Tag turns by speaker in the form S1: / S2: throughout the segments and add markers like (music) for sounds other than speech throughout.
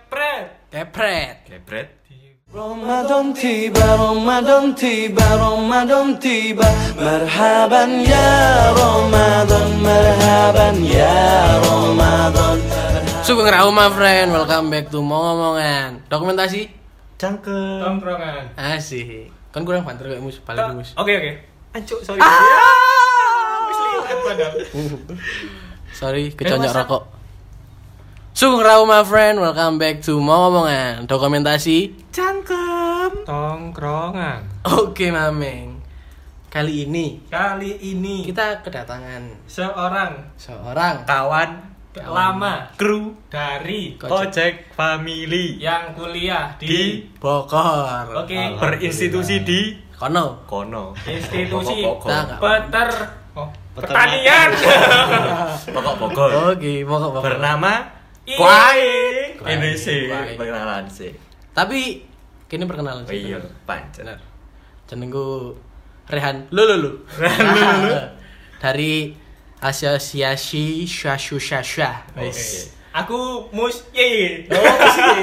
S1: Kepret.
S2: Kepret.
S1: Kepret.
S3: Ramadan tiba, Ramadan tiba, Ramadan tiba Merhaban ya Ramadan, merhaban ya Ramadan
S2: Sugeng Rahu my friend, welcome back to Momongan. Dokumentasi
S3: Cangke
S1: Tongkrongan.
S2: asik. Kan kurang banter kayak mus, paling mus.
S1: Oke oke. Ancuk, sorry. Wis liwat padahal.
S4: Eh,
S2: Sorry, keconjok rokok. Sugeng Rahu my friend, welcome back to Momongan. Dokumentasi.
S1: Tongkrongan.
S2: Oke, Mameng. Kali ini
S1: Kali ini
S2: kita kedatangan
S1: seorang
S2: seorang
S4: kawan
S1: lama
S4: kru
S1: dari
S4: ojek family
S1: yang kuliah di
S4: Di-
S2: Bogor.
S1: Oke.
S4: berinstitusi di
S2: Kono.
S4: kono
S1: Institusi
S4: Pokok-
S2: Nah,
S4: pokok
S2: nggak-
S1: Peter oh, pertanian. (laughs)
S4: Ah. pokok Bogor
S2: Oke, pokok Bogor.
S4: bernama
S1: Ih.
S4: Kwai
S2: Kwai.
S4: ini sih
S2: Kwai.
S4: perkenalan sih
S2: Tapi kini perkenalan
S4: oh iya
S2: bener.
S4: pancen
S2: Bener. Jenengku Rehan. Lu lu
S1: (laughs)
S2: lu. (laughs) Dari Asosiasi Syashu Syasha.
S1: Oke. Aku Mus Ye Oh,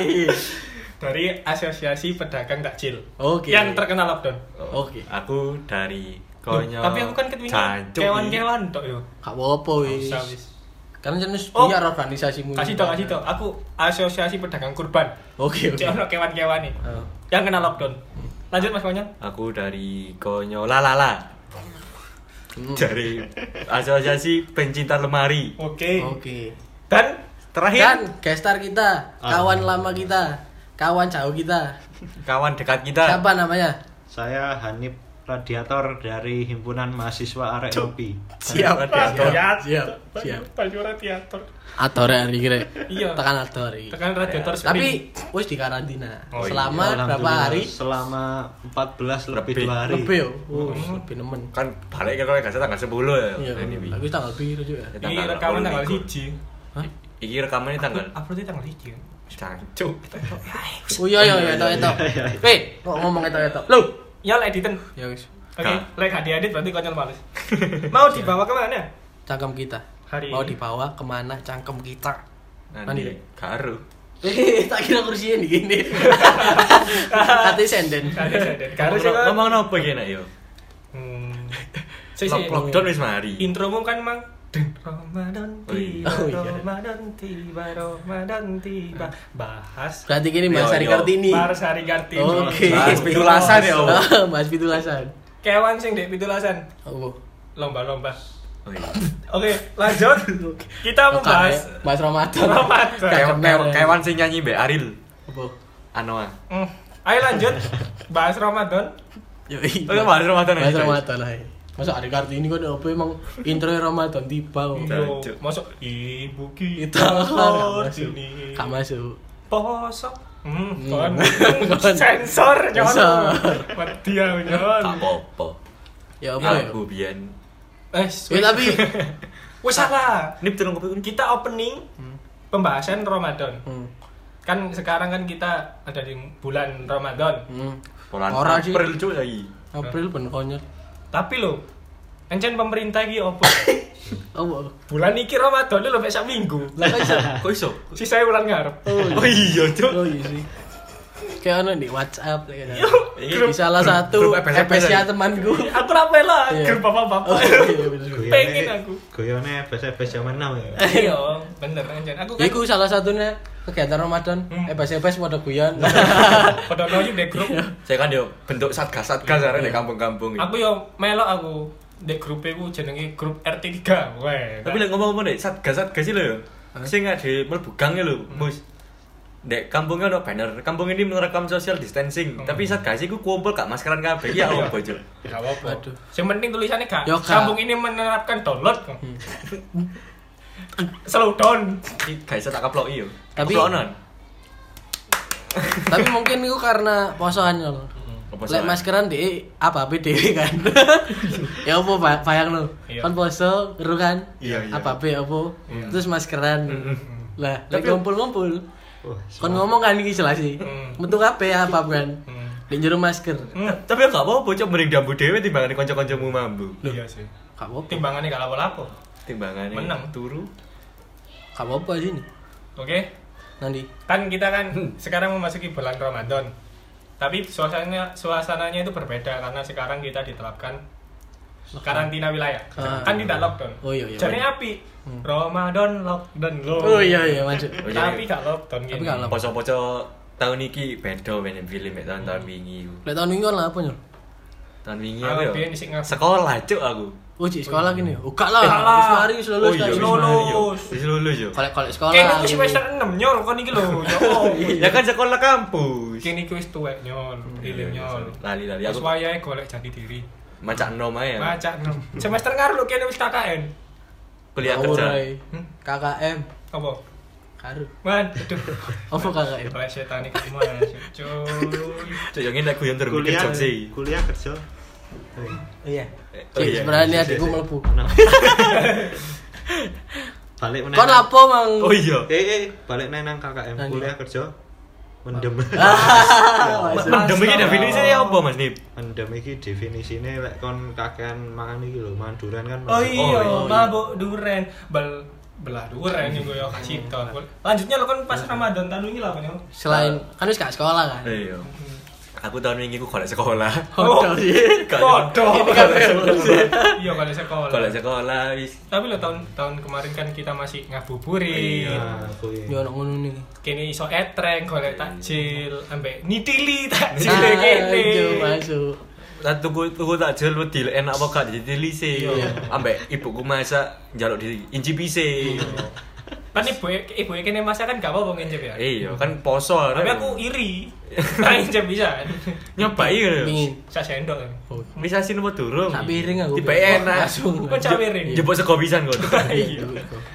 S1: dari Asosiasi Pedagang Takjil.
S2: Oke.
S1: Yang terkena lockdown.
S2: Oke.
S4: aku dari
S1: Loh,
S4: konyo
S1: Tapi aku kan ketwingan
S4: Jancuk, ih.
S1: kewan-kewan tok yo.
S2: (laughs) Gak apa-apa wis.
S1: Usah, wis.
S2: Kan jenis
S1: Oh.
S2: punya organisasimu.
S1: Kasih tau, kasih tau. Aku asosiasi pedagang kurban.
S2: Oke, oke.
S1: Cek ono kewan-kewan nih.
S2: Oh.
S1: Yang kena lockdown. Lanjut Mas Konyon.
S4: aku dari konyo lalala dari asosiasi pencinta lemari
S1: Oke.
S2: Oke.
S1: Dan
S4: terakhir
S2: Dan gestar kita,
S1: Ah.
S2: kawan lama kita, kawan jauh kita.
S4: kawan dekat
S1: Nah.
S4: kita
S2: Siapa namanya?
S5: Saya Hanif Radiator dari himpunan mahasiswa Arek Hopi.
S4: siap
S2: Siap,
S1: Iya.
S2: siap.
S1: Panjura teater.
S2: Atore hari kira.
S1: Iya.
S2: Tekan atore.
S1: Tekan radiator
S2: Tapi wis di karantina.
S1: Oh, iya.
S2: Selama berapa hari?
S5: Selama 14 lebih
S4: Lebih.
S5: dua hari.
S2: Lebih yo. Wih, lebih nemen.
S4: kan balik ke kalau nggak salah tanggal 10 ya
S2: Iya,
S4: ini, Wi.
S2: aku tanggal biru juga.
S4: Ya,
S1: ini
S4: tanggal
S1: rekaman
S4: 8
S1: tanggal
S4: Minggu.
S1: 1.
S4: Iki rekamannya tanggal
S1: Uploadnya tanggal ya. 1.
S4: Cancuk.
S2: Oh iya iya iya itu itu. Eh, kok ngomong itu itu. Lu.
S1: Ya lah editen.
S2: Ya wis,
S1: Oke,
S4: Nah.
S1: lek gak diedit berarti konyol males. Mau dibawa kemana?
S2: cangkem kita.
S1: Hari
S2: Mau
S1: ini.
S2: dibawa kemana cangkem kita?
S4: Nanti
S2: Nanti.
S4: karo.
S2: Eh, tak kira kursinya di gini. Kati senden.
S1: Gak ada, gak ada. Gak ada
S4: Karo
S1: sih kan.
S4: ngomong apa iki enak yo?
S1: Hmm. Sih, sih.
S4: Lock- Lockdown wis mari.
S1: Intromu kan mang Den Ramadan
S4: Oh
S1: tiba,
S4: iya.
S2: Oh iya.
S1: Ramadan tiba, Ramadan tiba. Bahas
S2: Berarti kini Mas
S4: Yo,
S2: Hari
S4: yo.
S2: Kartini.
S1: Bahas hari Kartini.
S2: Oke.
S4: Bahas pitulasan
S2: (laughs)
S4: ya, Allah.
S2: Ah, Mas Pitulasan.
S1: Kewan sing dek pitulasan
S2: Oh.
S1: lomba-lomba.
S4: Oh iya.
S1: Oke, lanjut. Kita membahas
S2: Mas Ramadan.
S1: Ramadan.
S2: Cangkem
S4: Kewan- kewan-
S2: merah.
S4: Kewan sing nyanyi Mbak Aril.
S2: Apa?
S4: Anoa.
S1: Hmm, Ayo lanjut bahas Ramadan.
S2: Yo, iya.
S4: Oh, iya, Mas Ramadan aja,
S2: Mas
S4: guys.
S2: Ramadan aja. Masa Hari Kartini kan apa emang intro ya Ramadan tiba. kok.
S1: Yo, masuk ibu
S2: Itu
S1: kita
S2: nggak masuk.
S1: ini.
S2: Nggak masuk.
S1: Poso. Hmm,
S2: Hmm.
S1: kon.
S2: Kon.
S1: Sensor nyon.
S2: Sensor.
S1: Wedi aku nyon.
S4: Tak apa-apa.
S2: Ya apa ya?
S4: Aku biyen.
S1: Eh,
S2: Ya tapi
S1: wis salah.
S4: Nip turun kopi.
S1: Kita opening pembahasan Ramadan.
S2: Hmm.
S1: Kan sekarang kan kita ada di bulan Ramadan.
S2: Hmm.
S4: Polan
S2: Ora sih.
S4: April cuk ya, lagi.
S2: April ben konyol.
S1: Tapi lo, encen pemerintah iki opo?
S2: Oh,
S1: bulan iki Ramadan lho mek sak minggu.
S2: lah kan iso.
S4: Kok iso?
S1: Sisanya bulan ngarep. (laughs)
S4: Oh iya cuk.
S2: Oh iya sih. Kayak ono di WhatsApp lah kan.
S4: Iki
S2: Di salah
S4: Iya. grup-
S2: satu
S4: grup FSM
S2: FPS ya
S4: lagi.
S2: temanku.
S1: Aku rapi lah,
S2: Iya.
S1: ya, grup bapak-bapak.
S2: Oh iya bener.
S5: Goyone-
S1: Pengen aku.
S5: Goyone bes-bes zaman now ya.
S1: Iya, bener encen. Aku
S2: Ya,
S1: kan
S2: Iku salah satunya kegiatan Ramadan,
S1: Hmm.
S2: FPS-FPS pada guyon.
S1: (laughs) padha noyu dek grup.
S4: Saya kan yo bentuk satgas-satgas arek di kampung-kampung.
S1: Aku yo melok aku dek grup iku jenenge grup RT3. Weh. kan?
S4: Tapi lek ngomong-ngomong dek satgas-satgas sih lho yo. Sing ada mlebu gang ya lho, Mus. Dek kampungnya ono banner. Kampung ini menerapkan social distancing. Tapi satgas iku kumpul gak maskeran kabeh. Ya
S1: Iya.
S4: opo cuk.
S1: Gak apa-apa.
S2: Aduh.
S1: Yang penting tulisannya gak.
S2: Yo, Kak.
S1: Kampung ini menerapkan download. Slow down.
S4: Iki gak iso tak iya. kaploki yo.
S2: Tapi-
S4: Kaplokan.
S2: Tapi mungkin itu karena posoan yo.
S4: Apa
S2: Lek
S4: soalnya?
S2: maskeran di apa apa dhewe kan. ya apa ba- bayang lo.
S1: Iya.
S2: Kan poso ngeru kan.
S4: Iya, iya.
S2: Apa apa apa. Terus maskeran. Lah, lek
S4: Tapi-
S2: ngumpul-ngumpul.
S5: Wah,
S2: Kon ngomong kan iki jelas sih.
S1: Hmm.
S2: Metu kabeh apa kan.
S1: Hmm.
S2: Di jero masker.
S1: Hmm.
S4: Tapi gak apa-apa cuk mending dambu dhewe timbangane kanca-kancamu mambu.
S1: Iya sih.
S2: Gak apa-apa.
S1: Timbangannya gak lapo-lapo.
S4: Timbangane
S1: Menang.
S4: turu.
S2: Gak apa-apa sini.
S1: Oke.
S2: Nanti.
S1: kan kita kan
S2: Hmm.
S1: sekarang memasuki bulan Ramadan tapi suasananya suasananya itu berbeda karena sekarang kita diterapkan karantina wilayah
S2: Ah.
S1: kan tidak lockdown
S2: Oh, iya, iya.
S1: jadi api Ramadan lockdown loh
S2: Oh iya iya maju.
S4: Oh, iya,
S1: tapi
S4: iya.
S1: gak lockdown
S2: Tapi
S1: gini
S2: gak lockdown.
S4: Poco-poco tahun ini beda main film ya tahun tahun wingi. ku.
S2: Lek tahun wingi lah apa nyur?
S4: Tahun wingi
S1: Ah,
S4: aku
S1: biyen
S4: ya.
S1: isik ngabuk.
S4: Sekolah cuk aku.
S2: Oh, cik, sekolah gini. ya? Oh, gak lah.
S1: Gak lah.
S2: Wis mari wis lulus.
S4: Oh iya,
S2: kan,
S4: wis
S2: wis
S1: lulus.
S2: mari.
S4: mari, yo. Wis lulus iya. yo.
S2: Kolek-kolek sekolah.
S1: Kene ku
S2: gini.
S1: Eh, semester 6 nyor kon
S2: (laughs)
S1: iki lho. Ya Allah.
S2: Iya.
S4: Ya kan sekolah kampus. Iya,
S1: Kene ku wis tuwek nyor,
S2: Hmm, iya,
S1: ilim nyor.
S4: Lali-lali
S1: Wis
S4: aku
S1: wayahe golek jati diri.
S4: macak nom ae. ya.
S1: Macak nom. Semester ngarep lho kene wis KKN.
S4: Kuliah
S2: Ngawur,
S4: kerja.
S2: ay. KKM.
S1: Apa?
S2: Karu.
S1: Man, aduh.
S2: Apa KKM?
S1: Oleh Ya, setan iki masuk, cuy.
S4: Cuk yo ngene guyon terus
S5: kuliah
S4: kerja sih.
S5: kuliah kerja
S2: Iya.
S4: Eh, oh
S2: Cik,
S4: iya.
S2: sebenarnya ini adikku melebu.
S5: Nah. balik meneng
S2: Kon lapo mang?
S4: Oh iya.
S5: eh eh balik meneng nang KKM
S2: Nanti.
S5: kuliah kerja mendem
S2: Ah.
S4: Mendem iki definisinya apa Mas Nip?
S5: (laughs) mendem iki definisine lek kon kakean mangan iki lho mangan duren kan
S1: Oh
S5: mendem.
S1: iya,
S4: iya.
S1: mabuk duren. Bel belah duren juga ya kasih ton. Lanjutnya lo kan pas Ramadan tahun ini lah kan. Nyol?
S2: (laughs) Selain kan wis gak sekolah kan?
S4: Iya. Aku tahun wingi ku golek sekolah.
S2: Hotel sih.
S4: Gak-
S1: Bodoh.
S2: Ini kan
S1: Oh,
S2: revolusi.
S1: Iya kalau
S2: Oh,
S1: sekolah.
S4: (laughs) Golek sekolah wis.
S1: Tapi lo tahun tahun kemarin kan kita masih ngabuburit.
S5: Nah, kuwi.
S2: Yo ono ngono nih.
S1: kini iso etreng golek takjil ambek nitili takjil
S2: Nah,
S1: kene
S2: itu masuk.
S4: Tak tuku tuku tak jel wedi lek enak apa gak ditili sih.
S2: Iya.
S4: Ambek ibuku masak njaluk di incipi sih.
S1: kan ibu ibu kene masak kan gak apa-apa nginjep ya
S4: Iya kan poso.
S1: tapi aku iri tak nginjep bisa kan
S4: nyobai
S2: Pingin.
S4: gitu.
S1: saya sendok kan
S2: Oh.
S4: Bisa sih nomor durung.
S2: Sak piring aku.
S4: Tiba enak. (laughs)
S2: Langsung.
S1: Kon sak piring?
S4: Jebok sego pisan kok.
S2: (laughs) Iya.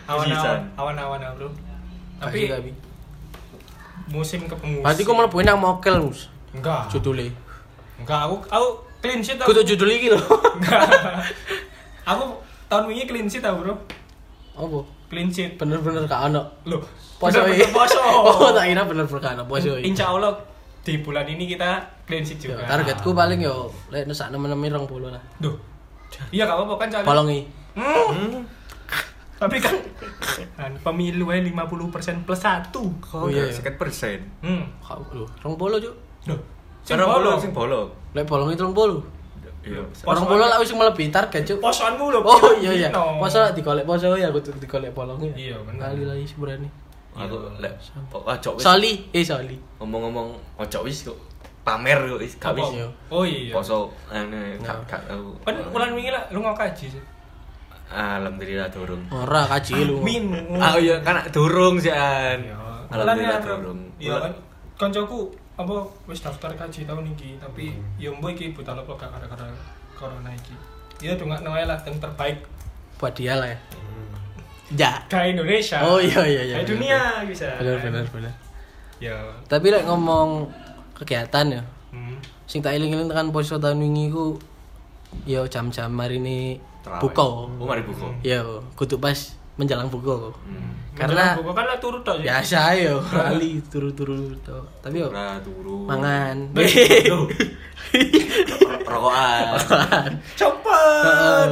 S1: awan-awan
S4: Sisan.
S1: awan-awan ah, bro
S2: Tapi
S1: tapi musim kepengurusan
S2: berarti kok mlebu nang mokel Mus.
S1: enggak
S2: Judule.
S1: enggak aku aku clean sheet aku
S2: Kudu judul iki lho.
S1: enggak (laughs) aku tahun ini clean sheet tau bro
S2: Apa?
S1: clean sheet
S2: Bener-bener gak ono.
S1: loh
S2: Poso
S1: bener-bener
S2: iki.
S1: poso
S2: (laughs) Oh, tak kira bener-bener gak ono poso iki.
S1: insya Allah di bulan ini kita clean sheet
S2: Yo,
S1: juga
S2: targetku paling yo lek nusak nemen-nemen 20 lah.
S1: Duh. Iya gak apa-apa kan cari.
S2: Polongi.
S1: Hmm. Tapi kan kan pemilu aja 50% plus 1.
S2: Oh iya. iya.
S4: Sekian persen.
S1: Hmm.
S2: Kau lho, 20 juk.
S1: Duh. Sing
S4: Orang bolong,
S1: bolong.
S4: sing bolong.
S2: Lek bolongi 30.
S4: Iya.
S2: Orang bola lah wis melebihi target cuk.
S1: Posoanmu lho.
S2: (laughs) Oh iya iya.
S1: Dino.
S2: Poso lah digolek poso ya aku tuh digolek bolongnya.
S1: Iya, bener.
S2: Kali lagi seberani.
S4: Aku
S2: Iya.
S4: lek pok- ojo wis.
S2: Soli, eh Soli.
S4: Ngomong-ngomong ojo wis kok pamer kok wis gak
S1: Apa?
S4: wis.
S2: Iya.
S1: Oh iya.
S4: Poso ane gak
S2: Nah.
S4: gak tau.
S1: Kan bulan wingi lah Oh. lu ngok kaji sih.
S4: Alhamdulillah durung.
S2: Ora kaji lu.
S1: Minu.
S4: Ah iya kan durung sih an.
S1: Iya.
S4: Alhamdulillah
S1: Bulan-
S4: durung.
S1: Iya kan. Koncoku apa wis daftar kaji tahun iki tapi
S4: Hmm.
S1: ya mbok iki buta lepo gak gara-gara corona iki. Iya dongakno ae lah yang terbaik
S2: Buat dia lah ya. Ya.
S1: ke Indonesia.
S2: Oh iya iya iya.
S1: Ke dunia bisa.
S2: Benar benar benar.
S1: Ya.
S2: Tapi lek ngomong kegiatan ya,
S1: Hmm.
S2: sing tak eling-eling tekan poso tahun wingi ku ya jam-jam hari ini
S4: Terawih.
S2: buka.
S4: Oh mari buka. Hmm.
S2: Ya, kudu pas menjelang buka.
S1: Karena
S2: Karena
S1: buku kan lah turut toh. ya.
S2: biasa
S1: (laughs)
S2: yo kali turu-turu to. Tapi yo
S4: Ora durung.
S1: (laughs)
S2: mangan.
S4: Duh.
S1: (laughs)
S4: Rokokan.
S1: Cepet.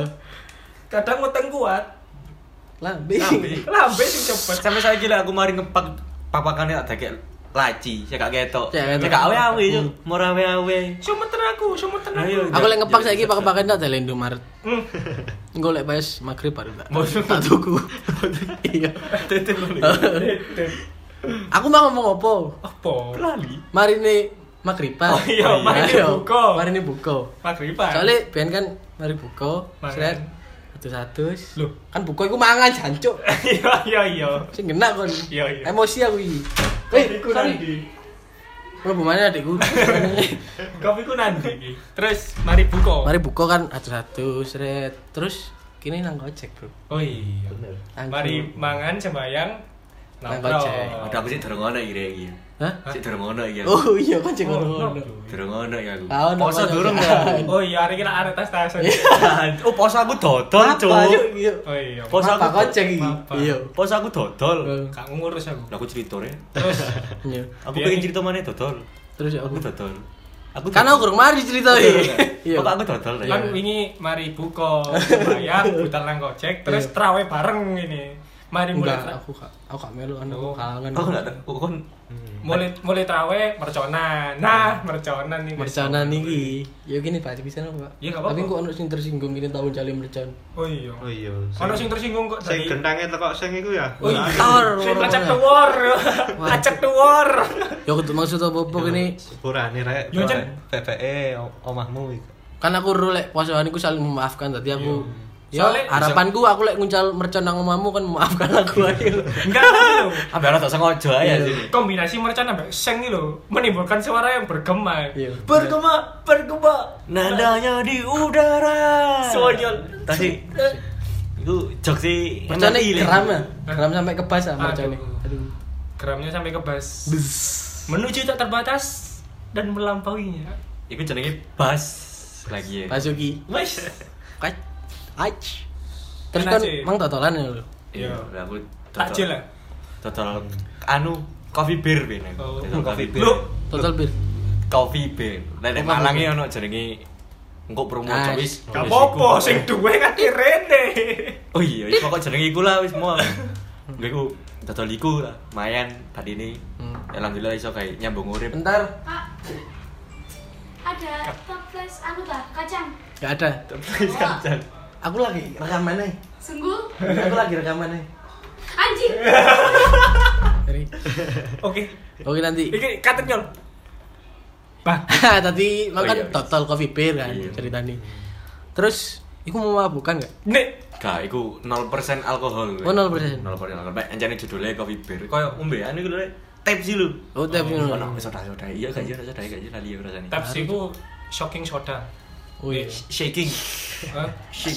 S1: Kadang ngutang kuat.
S2: Lambe.
S4: Lambe.
S1: Lambe sing cepet.
S4: Sampai saiki lah aku mari ngepak papakannya tak dagek laci, saya gak ketok.
S2: Saya gak ketok. Hmm.
S4: Saya gak awe-awe yo, mora awe-awe.
S1: Sumeter aku, sumeter
S4: Ayo.
S1: aku.
S2: Aku lek ngepak
S4: Jadi,
S2: saiki
S4: bisa.
S2: pak-pakan tak dari Indomaret.
S1: Hmm.
S2: Engko lek pas magrib baru tak. Tak tuku. Iya.
S4: Tetep lho.
S2: Aku mau ngomong apa?
S1: Apa?
S4: Lali.
S2: Marine magriban.
S1: Oh iya, mari
S2: Ayo,
S1: buka.
S2: Marine buka.
S1: Magriban.
S2: Soale ben kan mari buka,
S1: Mangan.
S2: sret satu-satu.
S1: Loh.
S2: kan buka iku mangan jancuk.
S1: Iya iya iya.
S2: Sing kena kon.
S1: Iya, iya.
S2: Emosi aku iki. Eh,
S1: Kopiku
S2: sorry.
S1: nanti.
S2: Lu mana
S1: (laughs)
S2: adikku?
S1: Kopiku nanti. iki. Terus mari buka.
S2: mari buka kan satu-satu, sret. Terus kini nang Gojek, Bro.
S1: Oh iya.
S2: Nang-
S1: Mari mangan sembayang.
S2: Nang
S1: nongkrong.
S2: gojek.
S4: Ada aku sih durung ono iki iki.
S2: Hah?
S4: Sik durung ono iki. aku.
S2: Oh iya kan cek
S1: Oh,
S2: ngono.
S4: Durung ono iki aku.
S2: Tahu namanya
S4: Poso durung
S2: (laughs) juga.
S4: ya. (laughs)
S1: Oh iya, hari kita arek tas tasan.
S4: Oh, poso aku dodol, Cuk.
S2: Apa yuk yuk.
S1: Oh iya.
S4: Pos- Poso
S2: Apa
S4: aku-
S2: kocek iki?
S1: Apa?
S2: Iya.
S4: Poso aku dodol.
S1: Gak ngurus aku.
S4: Lah aku cerita ya.
S1: Terus
S2: Iya.
S4: Aku
S1: Biar-
S4: pengen cerita mana dodol.
S2: Terus ya
S4: Aku
S2: aku.
S4: dodol. Aku
S2: Kan aku kurang mari cerita
S4: (laughs)
S2: iki.
S4: Iya.
S2: Iya.
S4: Kok aku dodol ya.
S2: (laughs)
S1: kan wingi mari buka sembayang, buta nang Gojek, terus trawe bareng ini. mari mulai
S2: Enggak, aku gak, aku gak melu kan aku
S1: Oh.
S2: kalangan.
S4: Kok enggak tahu? Kon
S5: Hmm.
S1: mulai mulai trawe mercona nah mercona nih guys.
S2: Mercana niki. Ya gini Pak, bisa apa, Pak?
S1: Ya, nggak
S2: Tapi
S1: apa-apa.
S2: kok ono sing tersinggung gini tahun jali mercon.
S1: oh iya
S5: Oh iya.
S1: ono sing tersinggung kok dari
S5: Sing gendangnya tekok sing iku ya.
S1: oh iya
S2: Tor,
S1: sing acak
S2: orang-orang.
S1: tuwor acak tuwor
S2: Ya aku tuh maksud apa ini
S5: Sepurane rek.
S1: Yo, Cen.
S5: PPE omahmu iku.
S2: kan aku ru lek posoan iku saling memaafkan tadi aku ya
S1: Soalnya-
S2: harapanku aku lek nguncal mercon nang omamu kan memaafkan aku aja lho.
S1: enggak tapi lho,
S4: ambil orang tak sengaja ya sih.
S1: kombinasi mercon ambek seng ini lho menimbulkan suara yang bergema
S2: Iya.
S1: bergema bergema
S4: Nah, Nadanya di udara.
S1: Sonyol.
S4: Tadi itu jok sih.
S2: mercon
S4: MRI,
S2: ini
S4: Lin.
S2: geram ya geram sampai kebas ah
S1: Aduh.
S2: mercon ini aduh
S1: geramnya sampai ke bass
S2: Bzz.
S1: menuju tak terbatas dan melampauinya
S4: Iku jenenge bas lagi ya.
S2: Basuki
S1: wes
S2: kaj aj terus
S1: Enak
S2: kan
S1: sih.
S2: mang totolan ya lho
S4: Iya,
S1: Iya.
S4: aku
S1: takjil lah
S4: Total anu coffee beer ben.
S1: Oh.
S4: Total coffee
S5: Iya.
S4: beer.
S1: Lu,
S2: total bir
S4: coffee beer. Nek nek
S2: Apa maksudnya?
S4: Malange ono jenenge engkok promo
S2: Ah,
S4: wis.
S1: gak
S4: wis
S1: apa-apa
S4: iku.
S1: sing duwe kan direne
S4: Oh iya, wis pokok jenenge iku lah wis mau. Gue iku total iku lah, mayan tadi ini.
S2: Hmm.
S4: Alhamdulillah iso kayak nyambung urip.
S2: bentar
S6: Pak, ada toples anu ta kacang.
S2: gak ada
S4: Terus kacan.
S2: aku lagi rekaman nih
S6: Sungguh?
S2: aku lagi rekaman nih
S6: Anjing.
S2: Jadi,
S1: oke
S2: oke (laughs) nanti
S1: iki katet nyol bah
S2: tadi makan
S4: iya, wis.
S2: total coffee beer kan
S4: Iya.
S2: cerita nih terus Iku mau mabukkan gak?
S1: nek
S4: Gak, iku 0% alkohol.
S2: Oh, 0%.
S4: 0% alkohol. Baik, anjane judulnya coffee beer. Koyo ombean iku lho, tep sih lu.
S2: Oh, tapi
S4: Oh, ono soda-soda. Iya, gak iya soda, gak iya lali rasane.
S1: taps iku shocking (laughs) soda
S2: Oh iya.
S4: Shaking.
S1: Hah?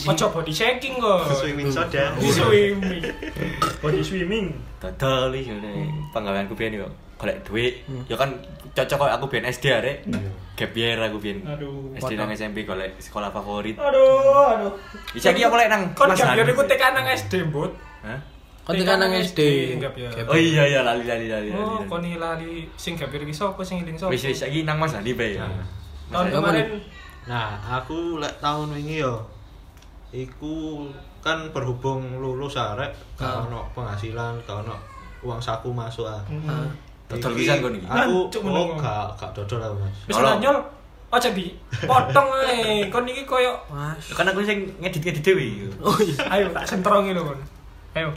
S1: Ojo body shaking kok
S5: Swimming soda.
S1: Di swimming body swimming
S4: Dodol iki ngene.
S2: Hmm.
S4: Penggaweanku biyen yo golek duit. Ya kan cocok kok aku biyen SD arek.
S2: Iya.
S4: Gap year aku biyen.
S1: Aduh.
S4: SD nang SMP golek sekolah favorit.
S1: aduh aduh
S4: Bisa iki aku lek nang
S1: kon gak
S4: Hans.
S1: biar iku tekan nang SD mbut
S4: Hah?
S2: Kan tekan nang SD.
S1: Enggak, ya.
S2: Gap
S4: Oh iya iya lali lali lali.
S1: oh
S4: lali.
S1: kon lali sing gak biar iso apa sing iling sapa
S4: Wis wis iki nang Mas Ali bae. ya.
S1: tahun
S2: Mas-
S1: kemarin
S5: Nah, aku lek tahun wingi yo iku kan berhubung lulus arek
S2: Ah.
S5: gak ono penghasilan, gak ono uang saku masuk ah.
S2: Ah.
S4: Dodol
S5: Iki
S4: pisan kon iki.
S5: Aku
S1: Mancuk
S5: oh
S1: Hmm. menunggu.
S5: gak gak dodol aku, Mas.
S1: wis
S4: Tolong.
S1: nyol ojo di potong ae kon iki koyo
S2: (laughs) Wah.
S4: Kan aku sing ngedit-ngedit dhewe.
S2: Oh iya.
S1: ayo tak sentrongi lho kon ayo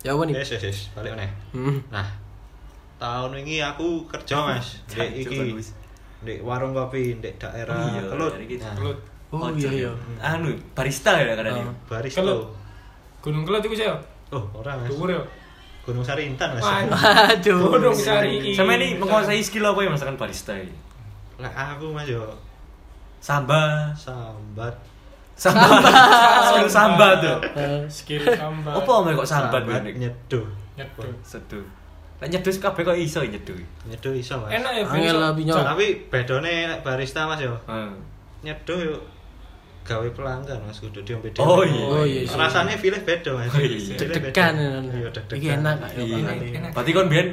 S2: Ya apa nih?
S5: Yes, yes, yes, balik meneh.
S2: Hmm.
S5: Nah, tahun wingi aku kerja, Mas. Dek iki
S4: Wis.
S5: di warung kopi di daerah
S4: Oh iya,
S5: Kelut.
S4: daerah gitu.
S5: Nah,
S1: kelut
S2: Oh,
S4: Ojek
S2: iya,
S4: ya.
S2: iya.
S4: Anu, barista ya kan
S2: Oh.
S4: ini.
S5: barista.
S1: Kelut. gunung kelut iku saya
S5: Oh, orang Mas.
S1: dhuwur yo
S5: Gunung Sarintan Mas.
S1: Wah,
S2: (laughs) Aduh.
S1: gunung sari
S4: Sama ini menguasai skill apa ya masakan barista ini?
S5: Lek aku Mas yo
S4: Samba.
S5: sambat
S4: Samba. Skill samba tuh.
S2: Eh,
S1: skill tambah
S4: Apa omel kok sambat
S5: sambat
S4: ini?
S5: nyeduh.
S1: Nyeduh.
S4: Seduh. Lah nyeduh kabeh kok iso nyeduh.
S5: Nyeduh iso, Mas. Iya,
S1: enak ya
S2: Angel lah
S1: Vinso.
S2: binyol.
S5: Tapi bedone nek barista Mas yo
S4: Hmm.
S5: nyeduh yo gawe pelanggan Mas kudu diombe dhewe.
S4: Oh iya.
S2: Oh iya.
S5: Rasane filih beda Mas.
S4: Oh, iya.
S5: Filih beda.
S2: Deg-degan.
S5: Iya,
S2: Iki
S5: deg-degan.
S2: enak gak? ya, Pak?
S4: Iya.
S1: Enak.
S4: Berarti kon biyen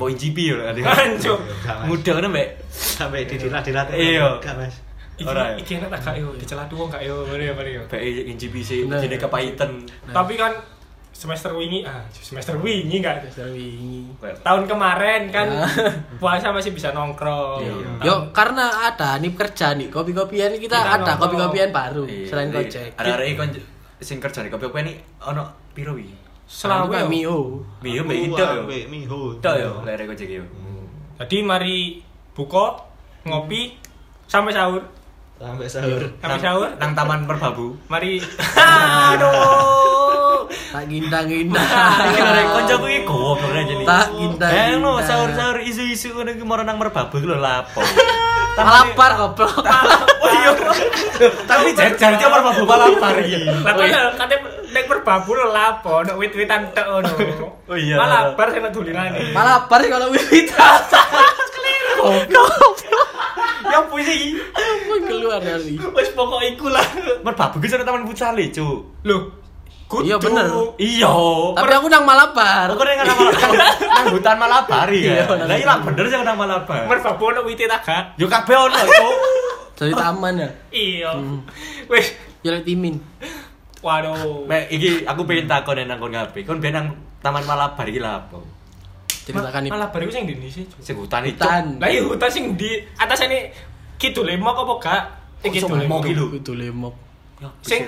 S4: mbok incipi ya kan.
S1: Hancur.
S5: Enggak, Mas.
S4: (laughs) Mudah kan Mbak?
S5: Sampai didilat-dilat.
S4: Iya.
S5: Enggak, Mas.
S1: Iki,
S4: Ora ya? Nah.
S1: iki enak tak kayo, dicelah tuwong kayo, mari mari yo.
S4: Mbak incipi sih
S2: Bener.
S4: jadi kepahitan.
S1: Tapi kan semester wingi, ah semester wingi enggak
S2: Dasar wingi.
S4: Kayak-
S1: tahun kemarin kan
S2: Ya.
S1: (laughs) puasa masih bisa nongkrong. Kan
S4: Iya.
S1: Tahun-
S2: Yo, karena ada nih kerja nih, kopi-kopian kita,
S1: Kita
S2: ada
S1: nongkrong.
S2: kopi-kopian baru
S4: Iya,
S2: selain
S4: jadi
S2: Gojek.
S4: Ada-ada iki kon sing kerja di kopi ini ono piro iki?
S1: selawe
S2: Pak
S1: yo.
S2: Mio.
S4: Mio mbek
S5: Aku
S4: Ida yo.
S5: ambek Iya. Miho.
S4: Ida yo lere Gojek yo.
S1: Jadi mari buka ngopi sampai sahur.
S5: Sampai sahur.
S1: Sampai
S4: Nang-
S1: sahur.
S4: nang
S2: (laughs)
S4: Taman Merbabu. (laughs)
S1: Mari aduh.
S2: Tak gindang-gindang.
S4: (laughs) Iki lho
S2: (laughs)
S4: koncoku iki goblok aja nih.
S2: Ah, Tak gindang.
S4: Eh no sahur-sahur isu-isu ngono iki moro nang merbabu iki lho
S2: (laughs)
S4: lapo.
S2: Lapar goblok.
S4: Oh iya. Tapi jajar iki merbabu malah lapar iki.
S1: Lah kan
S4: iya.
S1: kate nek perbabu lo lapo, nek wit-witan tok ngono.
S4: Oh iya.
S1: Malah bar sing dulinane.
S2: Malah lapar sih kalau wiwitan.
S4: Ya puisi.
S2: Apa keluar dari?
S1: Wis pokok iku lah.
S4: Merbabu iki sono taman futsal e, Cuk.
S1: Loh, kudu.
S2: Iya, bener.
S4: Iya.
S2: Tapi aku nang Malabar.
S4: Aku dengan nama nang hutan Malabar
S2: Iya,
S4: ya.
S2: nang
S4: Lah iya lah bener sih nang Malabar.
S1: Merbabu nek wite tagak.
S4: Yo kabeh ono, Cuk.
S2: Dari taman ya.
S4: Hmm.
S1: Iya. Wis
S2: Ya lek timin.
S1: Waduh.
S4: Mek, iki aku pengen takon nang kon kabeh. Kon ben nang Taman Malabar iki lha apa?
S2: Ceritakan nih.
S1: Malah baru sing di Indonesia. Cuk.
S4: Sing hutan iki.
S2: Hutan.
S1: Lah iya hutan sing di atas ini kidule mok apa gak? Eh, kidule
S4: mok
S1: mok.
S4: iki lho.
S2: Itu lemok.
S1: Sing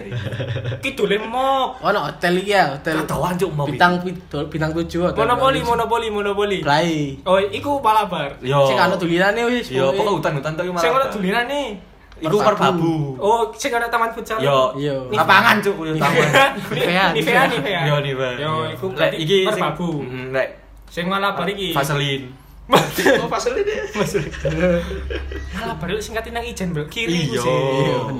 S1: kidule mok.
S2: Oh, no, hotel iki ya, hotel.
S4: Ketahuan cuk mau.
S2: Bintang pitu- bintang 7 hotel.
S1: Monopoli, monopoli, monopoli.
S2: Play.
S1: Oh, iku Malabar.
S4: Yo.
S2: Sing ana tulinane wis.
S4: Yo,
S2: pokoknya.
S4: pokok hutan-hutan tok iki
S1: Sing ora
S4: Malabar.
S1: dulinan nih.
S4: Iku
S2: Merpadu.
S4: merbabu.
S1: Oh, sing ada taman futsal.
S4: Yo,
S2: Yo.
S4: lapangan cuk, yo taman.
S2: Nivea,
S1: Nivea, Nivea, Nivea.
S4: Yo nih, Bang.
S1: Yo, iku
S4: Lek
S1: berarti
S4: iki sing
S1: Merbabu.
S4: Mm, Lek
S1: Sing Malabar iki.
S4: Vaseline.
S5: Oh, Vaseline deh.
S1: Malabar itu singkatin nang ijen, Bro. Kiri
S4: Iya.
S1: Yo,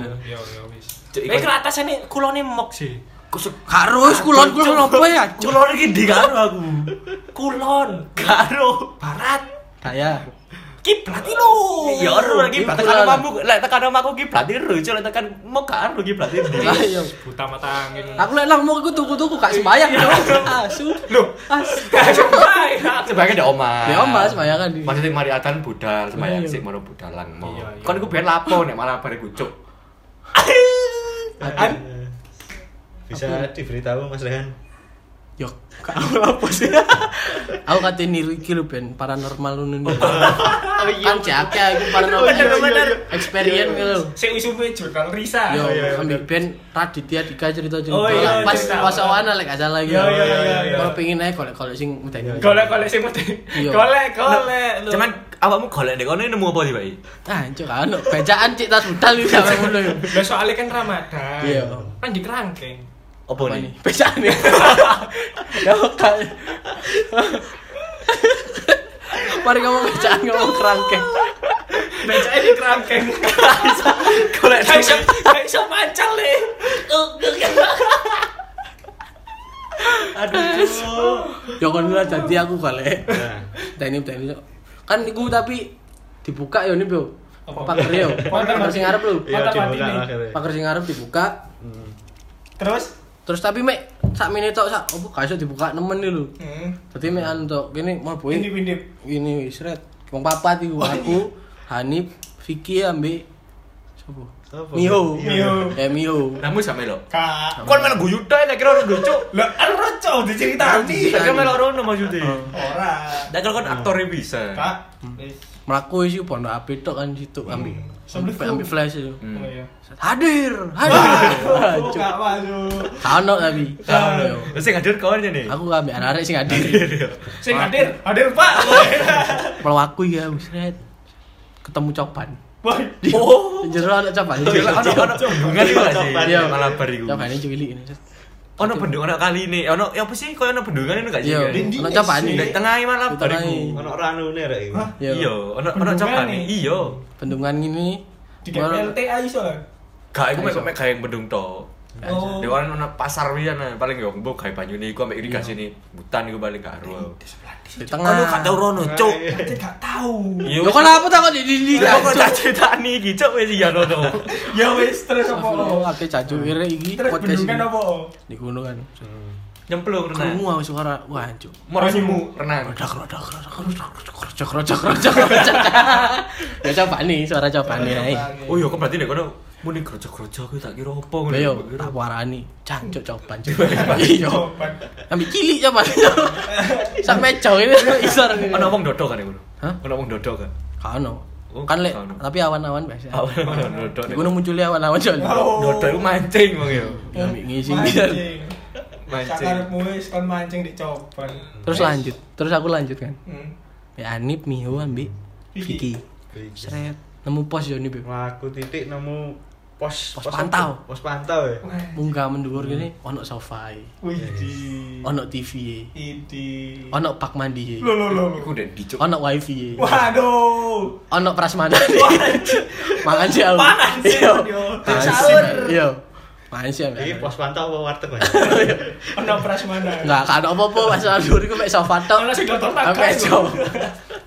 S1: yo, yo wis.
S4: Cuk,
S1: Eh,
S4: iku-
S1: ke atas ini kulone mok sih.
S4: Kusuk.
S2: Harus kulon kulon apa ya? Cuk.
S4: Culon iki ndi karo aku.
S1: Kulon,
S4: Karo.
S1: barat, Iya,
S2: Kayak
S1: kiblat iki lho.
S2: Oh.
S4: Ya ora iki
S2: Iku
S4: tekan
S2: kulon.
S4: omahmu, lek tekan omahku iki berarti ro, cuk, lek tekan mau karo iki berarti ndi.
S2: lah yo.
S1: Buta mata (laughs) angin.
S2: Aku lek lang mau aku tuku-tuku gak sembayang (laughs) dong. Asu.
S1: Loh.
S2: Asu.
S1: Iya,
S4: Sebagai ada oma.
S2: Di oma sembayangan di.
S4: Maksudnya mari atan budal
S2: Iya.
S4: sembayang sik mono budalang mau.
S1: Iya, iya.
S4: Kon iku ben lapo nek malah bare kucuk.
S5: Eh, Bisa diberitahu Mas Rehan.
S2: Yo, gak aku apa sih? aku kate niru iki lho ben paranormal ngono. Kan jake aku paranormal.
S1: Bener-bener.
S2: Experience gitu lho.
S1: Sing isume jurnal Risa.
S2: Yo, ambil band Raditya Dika cerita cerita.
S1: Oh, iya,
S2: pas
S1: cerita.
S2: pas awan lek gak salah gitu.
S1: Yo, yo, yo, yo, yo.
S2: Kalau pengin aja golek golek sing udah ini.
S1: Golek-golek sing mesti.
S2: Iya.
S1: Golek-golek. Oh, lho.
S4: Cuman awakmu golek nek kono nemu apa sih, Pak?
S2: Ah, cuk kan bacaan cik tas budal iki sampe ngono
S1: (laughs)
S2: yo.
S1: Lah soalnya kan Ramadan.
S2: Iya.
S1: Kan di (laughs) kerangkeng.
S4: Apa
S2: Apa ini?
S4: nih?
S2: Bacaan
S1: (laughs)
S2: ya. Ya kan. (laughs) Mari ngomong bacaan ngomong kerangkeng.
S1: Becake di kerangkeng.
S4: Golek
S1: Gak iso gak iso mancal (laughs) le.
S4: aduh. Cuk.
S2: Yo kon lah dadi aku golek.
S5: Nah,
S2: Udah ini udah ini. Cuk. Kan iku tapi dibuka yo ini, Bro.
S1: Apa?
S2: Pager yo. Pager sing arep lho.
S5: iya
S1: Mata
S5: dibuka
S1: mati nih.
S5: akhirnya.
S2: Pager sing arep dibuka,
S5: Hmm.
S1: Terus?
S2: Terus tapi mek sak menit tok sak opo gak iso dibuka nemen iki lho.
S1: Hmm.
S2: Dadi mek anu tok kene mau boy.
S1: Ini pindah.
S2: Ini Oh, wis red. Wong papat iku aku, Hanif, Vicky ambe sapa?
S5: Sopo?
S2: Mio.
S1: Mio.
S2: Eh Mio.
S4: Kamu sampe lo.
S1: Kak.
S4: Kon malah guyu tok nek kira ora lucu.
S1: Lah kan roco diceritani.
S4: Nek kira malah ora ono maksudnya.
S1: Ora.
S4: Nek kira kon aktornya bisa.
S1: Kak. Wis.
S2: Mlaku isi pondok ape tok kan situ ambe.
S1: Assalamualaikum.
S2: Ambe flash itu.
S4: Hmm.
S1: Oh iya.
S2: Hadir, (laughs) hadir. Cuk.
S1: Kak masuk.
S2: Kano tapi. Kano.
S4: Terus sing hadir kawannya nih.
S2: Aku ambe arek sing Iya. hadir.
S1: Sing hadir, hadir (laughs) Pak.
S2: Melaku ya wis red. Ketemu coban.
S1: Woi.
S2: Oh, jero ana coban.
S4: Iya, Ono ono bendungan iku gak sih.
S2: Iya.
S4: Malabar iku.
S2: Cobane cilik ini.
S4: Ono bendungan ono kali ini. Ono ya apa sih koyo ono bendungan itu gak sih?
S2: Iya, eh,
S4: Di
S2: ono coban
S4: di
S2: iki.
S4: tengah Malabar
S2: Di tengah
S4: iku.
S2: iki.
S5: Ono ranune rek iki.
S4: Iya,
S2: Iya.
S4: ono ono
S1: Bendungan
S4: coban
S1: nih.
S4: Iya.
S2: Bendungan gini.
S1: Di KPLT iso. kan?
S4: Gak iku mek mek gawe bendung tok.
S1: Oh.
S4: Di orang ono pasar wian nah. paling yo mbok gawe banyune iku ambek irigasi ini. Hutan iku paling gak ero.
S2: Di
S4: Ono gak
S2: tengah.
S4: tau rono, cuk.
S1: Kita gak tahu.
S4: Iya.
S2: Yo kan apa takut di di di.
S4: Lah kok tak critani iki cuk wis ya rono.
S1: Ya wis terus
S2: Aku
S1: apa?
S2: akeh cacu ire iki
S1: Terus
S2: podcast
S1: bendungan
S2: ini.
S1: apa?
S2: di gunung kan.
S4: Nyemplung renang.
S2: Krungu aku suara wah hancur.
S4: Merasimu renang.
S2: Rodak rodak rodak rodak rodak rodak rodak rodak. (laughs) Ya coba nih suara coba nih. eh. ae.
S4: Oh iya, kok berarti nek kono muni grojok-grojok aku tak kira apa ngono.
S2: Yo,
S4: Tak kira.
S2: tak warani, cancuk coba coba. Iya,
S1: Coban.
S2: ambil cilik coba. (laughs) Sampai jauh ini (laughs) isor ini.
S4: Ono wong dodok kan iku.
S2: Hah?
S4: Ono wong dodok kan.
S2: Kano,
S4: Oh,
S2: kan lek
S4: gak ono.
S2: tapi awan-awan biasa.
S4: Awal ono dodok.
S2: Di gunung munculnya awan-awan soalnya.
S4: Dodok iku mancing wong yo.
S2: Ya ambil ngisi
S1: Mancing.
S4: Mancing.
S1: Sakarepmu wis kon mancing di coban.
S2: Terus lanjut, terus aku lanjut kan.
S1: Hmm.
S2: Ya Anip, Miho, ambil Vicky.
S1: Vicky.
S2: Seret, nemu pos yo Nip.
S5: Melaku titik nemu pos
S2: Pos pantau.
S5: apa? Pos pantau ya.
S2: Munggah mendur gini, ono sofa, e,
S1: Wih, di.
S2: ono TV, e,
S1: Idi.
S2: ono pak mandi, e,
S1: Lo lo lo.
S4: Iku udah dicuk.
S2: ono wifi, e,
S1: Waduh.
S2: ono prasmanan. e. Makan sih aku.
S1: Makan sih,
S2: Yo. Iya,
S1: yo.
S2: Makan sih,
S1: Sahur.
S2: Yo. Makan sih ambil.
S5: Iki pos pantau apa warteg Mas?
S1: Ono prasmanan.
S2: Enggak, kan apa-apa pas sahur iku mek sofa tok.
S1: Ono sing dodol gitu.
S2: Ayo
S1: tagas.
S2: mejo.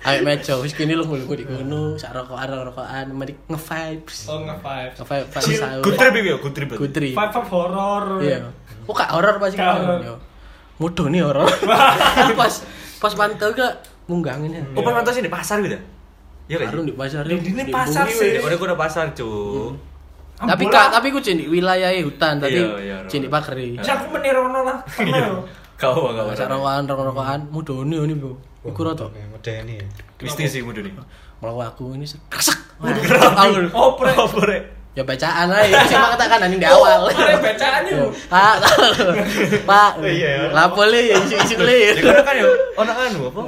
S2: Ayo mejo, wis kini lu mulu di gunung, sak rokokan-rokokan, mari nge-vibes.
S1: Oh, nge-vibes.
S2: Nge-vibes pas
S4: Chill.
S2: sahur.
S4: Good trip iku yo, good trip.
S2: Good trip.
S1: Vibe vibe horor.
S2: Iya. Oh, kak horor pasti
S1: Gak horor.
S2: kan. Mudo nih horor. pas pas pantau ke munggangin ya.
S4: Oh, pernah nonton sini pasar gitu. Iya kan?
S2: Baru di pasar.
S1: Di- di pasar
S2: bumi,
S1: sih.
S2: weh.
S4: Ora kudu pasar, cuk.
S2: Tapi
S1: Ambulan.
S2: kak, tapi ku jendik wilayah e hutan tadi.
S4: Iya, iya, Iya, Ron.
S2: Jendik pageri.
S1: Ya aku menirono lah. Kenal.
S4: Kau gak
S2: Sak rokokan, rokokan, mudoni ini, Bro. Iku rada
S5: medeni ya.
S4: Twisting sih
S2: (laughs)
S4: mudah nih.
S2: melaku aku ini kresek. Aku-
S1: Oprek.
S2: Ya bacaan aja, cuma katakan ini di awal.
S1: Oprek bacaannya.
S2: Iya.
S1: Oh, Bu.
S2: Pak, Pak.
S5: Iya.
S2: Lapo le ya isi isi
S4: Jadi
S2: le.
S4: kan kan ya, ono anu apa?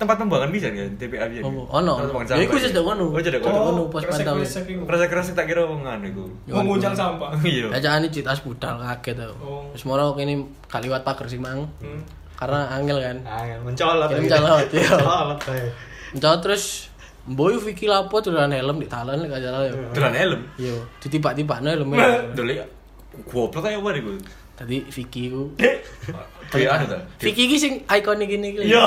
S4: Tempat pembuangan bisa kan TPA bisa.
S2: Ono, Iya. ono.
S4: Tempat pembuangan
S2: Ya iku Oh.
S4: sampah.
S2: wis ndek ngono.
S4: Oh, jadi
S2: Ndek
S4: kono.
S2: ngono pos
S1: kresek-
S2: pantau.
S1: kresek iku.
S4: Kerasa-kerasa tak kira omongan iku.
S1: Menguncang sampah.
S4: Iya.
S2: Bacaan ini citas budal kaget aku.
S1: Oh.
S2: Wis moro kene gak liwat pager sih, Mang.
S1: Hmm.
S2: Karena angel kan.
S5: Ah, ya, mencolot.
S2: Ya, mencolot, iya.
S5: Mencolot kayak.
S2: Mencoba terus Boy Vicky Lapo tulan helm di talon lek gak salah yo.
S4: Dolan helm.
S2: Yo, ditipak-tipak no helmnya.
S4: Dolek goblok ae wae iku.
S2: Tadi Vicky ku.
S4: Dek anu ta.
S2: Vicky ki sing ikonik ini iki. Yo.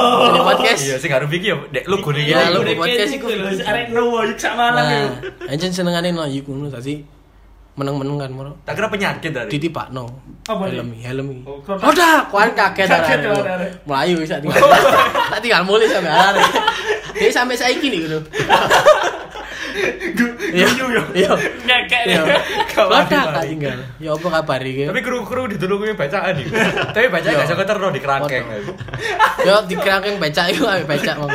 S2: podcast.
S4: Iya, sing karo iki ya dek lu gone iki.
S2: Ya, lu
S1: Ini
S2: buat podcast
S1: kecil
S2: iku.
S1: gitu loh, arek nowo yuk sak malam
S2: Nah,
S1: yuk.
S2: anjen senengane no iku ngono tadi meneng-meneng kan moro.
S4: Tak kira penyakit dari.
S2: Titipak no.
S1: Apa nih?
S2: Helm, iki, helm iki.
S1: Oh, kok-
S2: Udah, kuan kaget
S1: Kaget ya,
S2: arek.
S1: arek.
S2: Melayu
S1: (laughs)
S2: bisa tinggal. Tak tinggal mulai sampe arek. Dia sampe saiki nih ngono. Iya.
S1: ya.
S2: Iya.
S1: Ngekek
S2: Iya.
S1: dia.
S2: Udah, tak tinggal. Ya apa kabar iki?
S4: Tapi kru-kru ditulungi bacaan
S2: (laughs)
S4: iku. Tapi bacaan
S2: Iya.
S4: gak saka terno di kerangkeng.
S2: Yo dikerangkeng Ya, becak iku ae becak mong.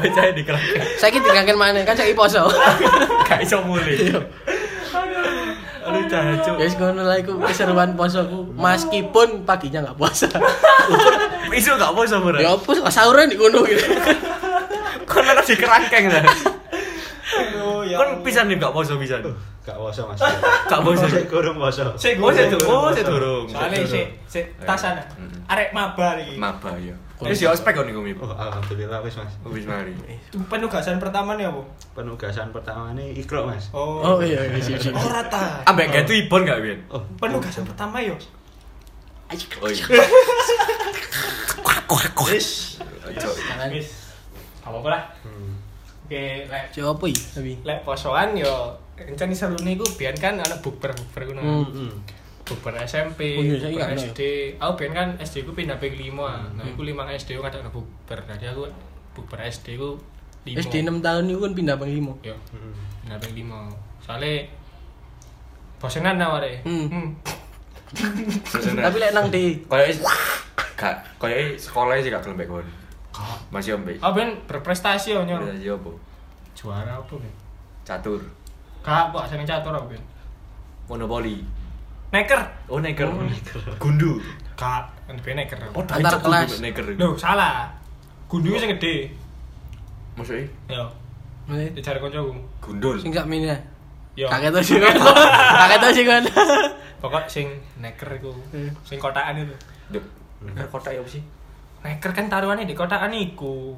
S4: Bacaan di kerangkeng.
S2: Saiki dikerangkeng maneh kan saiki poso.
S4: Gak iso mulih.
S2: Yo.
S4: Aduh cacu.
S2: Ya wis ngono lah iku keseruan posoku meskipun paginya enggak puasa.
S4: Iso gak poso murah.
S2: Ya opus kok sahuran di kono
S1: (laughs)
S2: gitu.
S4: Kon ora di kerangkeng ta.
S5: Aduh, ya.
S4: Kon pisan nih gak poso pisan.
S5: Gak poso Mas.
S4: Gak poso.
S5: Sik kurung poso.
S1: Sik,
S4: Oh, saya durung. Oh, saya durung.
S1: Soalnya sik sik tasan.
S2: Hmm.
S4: Mm-mm.
S1: Arek maba iki.
S4: Maba ya. Terus ya ospek kon iku mi.
S5: Oh, alhamdulillah wis Mas.
S4: Oh, Wis mari.
S1: Penugasan pertama nih apa?
S5: Penugasan pertama ini ikro Mas.
S2: Oh iya iya sih sih.
S1: Oh rata.
S4: Ambek gitu ibon gak Win?
S5: Oh,
S1: Penugasan pertama yo.
S4: Oh iya.
S1: Wis. Wis. Apa apa lah.
S5: Hmm.
S1: Oke, lek
S2: Cek opo Ya, iki tapi.
S1: lek posoan yo encen seru nih gue biar kan anak bukber bukber gue
S2: Hmm.
S5: Hmm.
S1: bukber SMP
S2: Oh iya, Hmm, saya
S1: bukber
S2: ingat,
S1: SD aku biar kan SD ku pindah ping lima nah aku lima SD aku ada bukber jadi aku bukber SD ku lima
S2: SD 6 tahun iku kan pindah bang limo.
S1: yo
S5: Hmm.
S1: pindah ping lima soalnya bosenan naware
S2: Hmm. Tapi
S4: Tapi
S2: lek nang di
S4: koyo gak koyo sekolah sih gak gelem mbek kon. Masih mbek.
S1: oh ben berprestasi yo nyor
S4: Iya apa?
S1: juara apa ben
S4: Catur.
S1: kak kok seneng catur aku ben
S4: Monopoli.
S1: neker
S4: Oh neker. Gundu.
S1: kak kan ben neker
S4: Oh,
S2: Antar
S4: dancak
S2: kelas.
S4: gundu, Neker.
S1: Loh, salah gundu sing gede
S4: Maksudnya
S1: yo dicari kancaku
S4: gundul.
S2: sing sak mini.
S1: yo
S2: Kaget tau sih kan. Kaget tau sih kan.
S1: pokok sing neker iku
S2: Hmm.
S1: sing kotakan itu
S4: Duh, Neker kotak ya apa sih?
S1: neker kan taruhannya di kotakan iku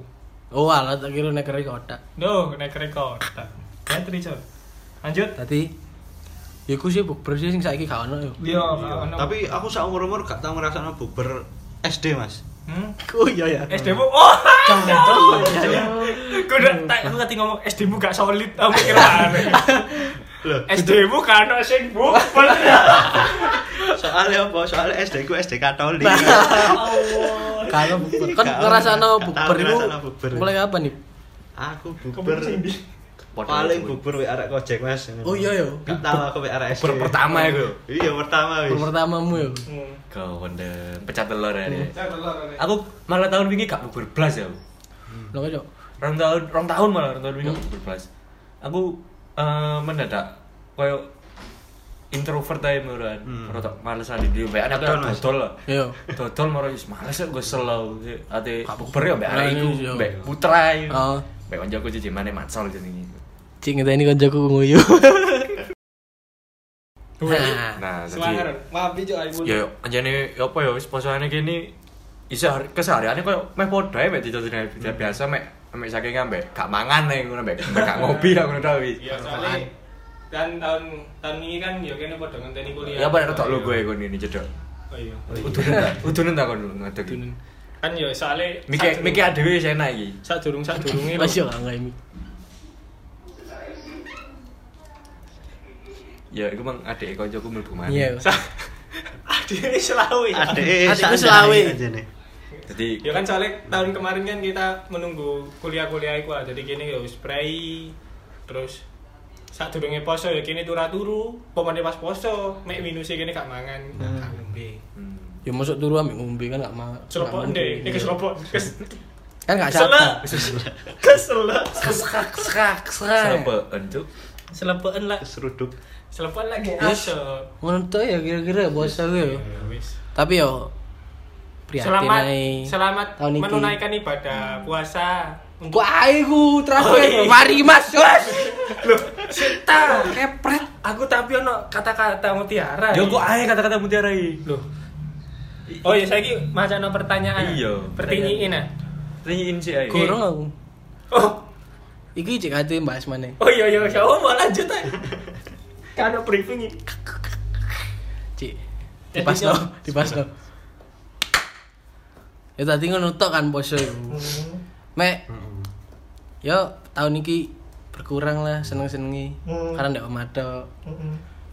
S2: Oh alah tak kira nek kere kotak.
S1: Duh, neker e kotak ya Trico lanjut
S2: Tadi Iku sih bukber sih sing saiki gak ono yo.
S1: iya
S5: Iya.
S1: Oh, ono.
S5: Tapi aku seumur umur gak tau ngerasakno bukber SD Mas.
S1: hmm?
S2: Oh iya ya.
S1: SD mu oh
S2: Jangan
S1: gue udah tak gue tadi ngomong SD mu gak solid aku kira aneh
S5: Loh,
S1: SD mu kan ono sing bukber
S5: soalnya apa? Soalnya SD ku SD Katolik.
S2: Kalau bukber kan
S5: Gak
S2: ngerasano
S5: tahu
S2: bukber iku
S5: ngerasakno bukber.
S2: mulai apa nih?
S5: aku
S1: Kebun
S5: bukber
S1: sindi.
S5: paling bukber wek arek Gojek Mas.
S2: Oh, iya, iya.
S5: Gak tau aku wek arek SD.
S4: Bukber pertama ya, Bro.
S5: Iya, pertama wis.
S2: Bukber pertamamu yo.
S1: Hmm.
S4: Kau wonder pecah telur ya. dia.
S1: Cak, telur, aneh.
S4: Aku malah tahun wingi gak bubur blas ya. aku.
S2: Lho kok Cok?
S4: Rong tahun, rong tahun malah rong tahun wingi gak bubur blas. Aku eh, mendadak koyo introvert aja menurut
S5: Hmm.
S4: rotok males ada di mbak anak
S5: Dodol, Mas.
S4: dodol lah
S2: Yo.
S4: dodol moro is males ya gue selau ate
S2: Gak
S4: bubur ya mbak
S2: bubur,
S4: arek iku
S2: iya.
S4: mbak putra ya
S2: Oh.
S4: mbak konjaku cuci mana mansol jenenge
S2: Cik ngenteni koncoku nguyu. Nah,
S4: nah
S1: Semangat,
S4: jadi
S1: maaf nih, Cok, aku.
S4: ya anjane apa ya wis posone kene iso kesehariane koyo meh padha ae mek dicocokin ae. biasa mek mek saking ambek gak mangan ae ngono mek mek gak ngopi aku ngono tau wis.
S1: Iya, soalnya dan tahun tahun ini kan ya kene padha ngenteni kuliah.
S4: Ya apa nek rodok lu gue kon ini cedok.
S1: Oh iya.
S4: Udunen ta, udunen ta kon ngadeg.
S1: Dunen. Kan ya soalnya
S4: Miki miki adewe wis enak iki.
S1: sak durung sak durunge
S2: Mas nah. yo gak ngemi.
S4: Ya iku mang adeke kancaku mlebu maneh.
S2: Iya.
S1: (laughs) Adine selawe. ya.
S5: Adek
S2: Adekku Selawe.
S4: Dadi
S1: Ya kan soalnya tahun kemarin kan ah. kita menunggu kuliah-kuliah iku lah. Jadi gini ya wis prei terus saat durunge poso ya kini turu turu pomane pas poso mek minusnya kini gak mangan gak ngombe
S4: Hmm.
S2: Ya masuk turu ambek ngombe kan gak mau.
S1: seropok ndek iki seropok kes
S2: Kan
S1: (laughs)
S2: gak
S1: Selek.
S2: sadar.
S1: kesel
S2: Serak serak serak.
S4: Serba encuk.
S1: selepen lah
S5: seruduk
S1: selepen lagi
S2: Yes.
S1: aso
S2: Ngono tok ya kira-kira bos aku ya.
S1: Ya, wis.
S2: Tapi yo prihatin
S1: selamat
S2: ae.
S1: selamat
S2: Tahun ini.
S1: menunaikan ibadah puasa
S2: Ku ae
S1: Oh,
S2: ku
S1: iya.
S2: terakhir. Mari Mas. Yos.
S1: Sita, kepret. Aku tapi ono kata-kata mutiara.
S4: Yo Ya, kok ae kata-kata mutiara iki.
S1: Iya. Loh. Oh iya, saya ki maca no pertanyaan.
S4: Iya,
S1: Pertinyiin ah.
S4: Tanyain sih ae.
S1: Iya.
S2: Gorong aku.
S1: Oh,
S2: Iki cek ate bahas mana?
S1: oh iya iya, ya oh, mau lanjut Kan ae. Karena briefing ini.
S2: Cik.
S1: Ya,
S2: Dipasno,
S1: iya.
S2: dipasno. Ya tadi ngono tok kan poso iku.
S1: Mm-hmm.
S2: Mek. Yo tahun iki berkurang lah seneng-senengi.
S1: Hmm.
S2: Karena ndak omah tok.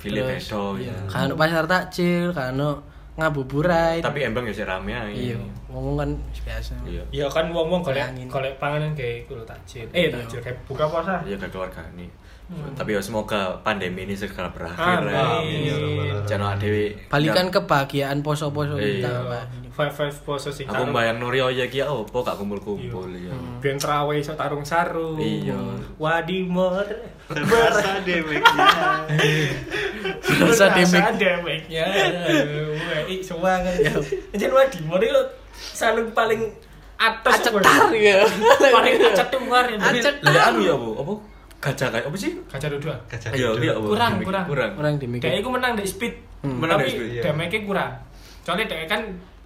S4: Pilih
S2: Terus,
S1: Oh,
S4: bedo
S2: iya.
S4: ya.
S2: Karena pasar takjil, karena ngabuburit.
S4: Tapi embang ya sih rame ae.
S2: iya, ngomong kan biasa.
S4: Iya.
S1: Ya kan wong-wong golek
S2: Bayangin.
S1: golek panganan kayak kulo takjil. Eh takjil kayak buka puasa.
S4: Ya ke keluarga ini.
S1: Hmm.
S4: Tapi ya semoga pandemi ini segera berakhir.
S1: Amin.
S5: Ya Allah,
S1: Amin.
S5: Allah.
S4: Jangan dewe.
S2: Balikan
S4: ya.
S2: kebahagiaan poso-poso
S4: Iya.
S2: kita. Pak.
S1: Five five poso sing
S4: Aku
S1: tarung.
S4: mbayang Nuri ya ki opo gak kumpul-kumpul ya.
S1: Ben trawe iso tarung sarung.
S4: Iya.
S1: Wadimor.
S5: terasa demeknya
S2: Berasa demek.
S1: demeknya. ya, Wah, semangat. Jan Wadimor itu sarung paling atas
S2: Acetar
S1: Bro.
S2: ya.
S1: Paling acetungar ya.
S4: Tapi
S2: Acet.
S4: lek anu ya, Bu. Apa? Gajah kayak apa sih?
S1: Kaca duduk.
S5: Gajah
S4: Iya,
S5: hidup.
S4: iya, Bu.
S1: Kurang,
S4: Demik-
S1: kurang.
S4: Kurang.
S2: Orang demik.
S1: Dek iku menang di speed.
S4: Menang
S1: Tapi
S4: di speed,
S5: iya.
S1: damage kurang. Soalnya dek kan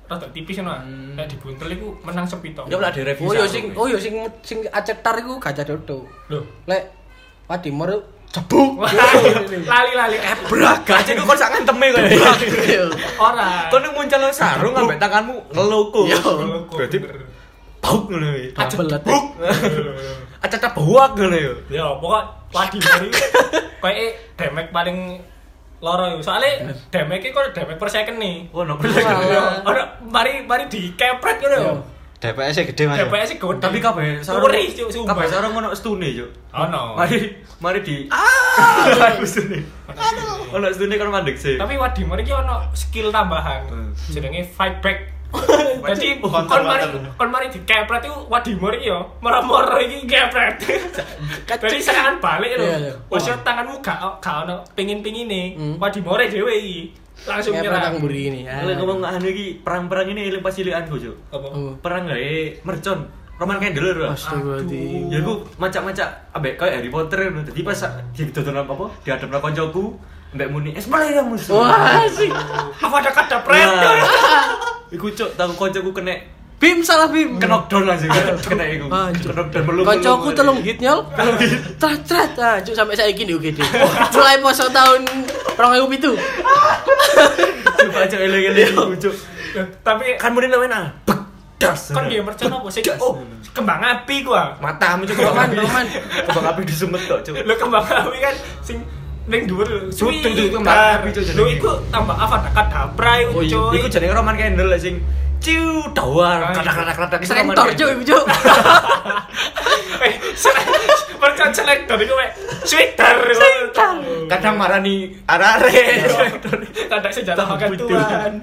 S1: rada tipis ngono. Nek dibuntel iku menang sepito.
S4: Hmm. Ya lah direvisi.
S2: Oh yo sing oh yo sing sing acetar iku gajah dodo.
S1: Loh.
S4: (laughs)
S2: Lek Wadimor iku cebuk.
S1: Wah, Lali-lali
S4: Brak, gajah iku kok sak ngenteme kok. Brak.
S2: Yo.
S1: Ora.
S4: Kau nung muncul sarung ngambil tanganmu ngeluku.
S2: Yo.
S4: Berarti bau ngono ya.
S2: Acetar.
S4: Acat buak ngono ya.
S1: Ya, pokok Wadimor iku koyoke damage paling loro iku. Soale damage-e kok damage per second nih.
S4: Oh, no.
S2: Salah.
S1: Ora mari mari dikepret ngono yo.
S5: DPS-nya gede mas ya?
S1: DPS gede.
S4: Tapi kabeh sarung.
S1: Suri, cuk, sumpah.
S4: Kabeh sarung ngono stune, Cuk.
S1: Ono.
S4: Mari mari di. Ah, stune. Ono stune kan mandek sih.
S1: Tapi Wadimor iki ono skill tambahan.
S4: Hmm.
S1: Jenenge fight back. Jadi
S5: Oh,
S1: kon
S5: counter,
S1: mari
S5: counter.
S1: kon mari dikepret iku Wadimor iki yo merem-merem iki kepret. Jadi serangan balik
S2: Iya, iya.
S1: lho. Wes yo tanganmu gak gak ono pingin-pingine.
S2: Hmm.
S1: Wadimore dhewe iki. Langsung
S2: Kayak perang
S1: nyerang.
S2: buri ini. ya.
S4: Lek ngomong anu iki perang-perang ini eling pas cilikanku, Cuk.
S1: Apa?
S2: Oh.
S4: Perang gawe mercon. Roman Candler lah.
S2: Astagfirullahaladzim.
S4: Ya aku macak-macak ambek kayak Harry Potter ngono. Dadi pas didodol apa? Diadep nang kancaku, ambek muni es mulai yang musuh.
S2: Wah, sih.
S1: Apa ada kada pret?
S4: Nah, Iku cuk, tang kancaku kena
S2: Bim salah Bim.
S4: kena down langsung kena iku.
S2: Anjir.
S4: Kena down Kan belum.
S2: Kocokku telung hit nyol. Trat trat ah, cuk sampai saiki di UGD. Mulai poso tahun 2007.
S4: Coba aja eling-eling iku cuk.
S1: Tapi
S4: Kan muni namanya
S1: Iya.
S4: bedas.
S1: kon dia mercon apa sih? Oh, kembang api gua.
S4: matamu cuk
S2: Roman, Roman.
S4: Kebak api disemet tok
S1: (laughs)
S4: cuk.
S1: Lho kembang api kan sing ning dhuwur lho. Suwi.
S4: Duh, duh, kembang api, Cuk,
S1: Lho
S4: jenenge.
S1: iku tambah apa ada kada pret iku,
S4: Oh iya,
S1: cuy.
S4: iku jenenge Roman Candle lah sing ciu
S1: Ah,
S4: dawar
S1: iya.
S4: kratak-kratak iku Roman
S2: Sentor cuk
S4: Candle.
S2: iku cuk.
S1: (laughs) Eh, mercon celek dari gue, sweater, sweater.
S4: Kadang marani
S1: Iya.
S4: arare.
S1: Kadang senjata makan tuan.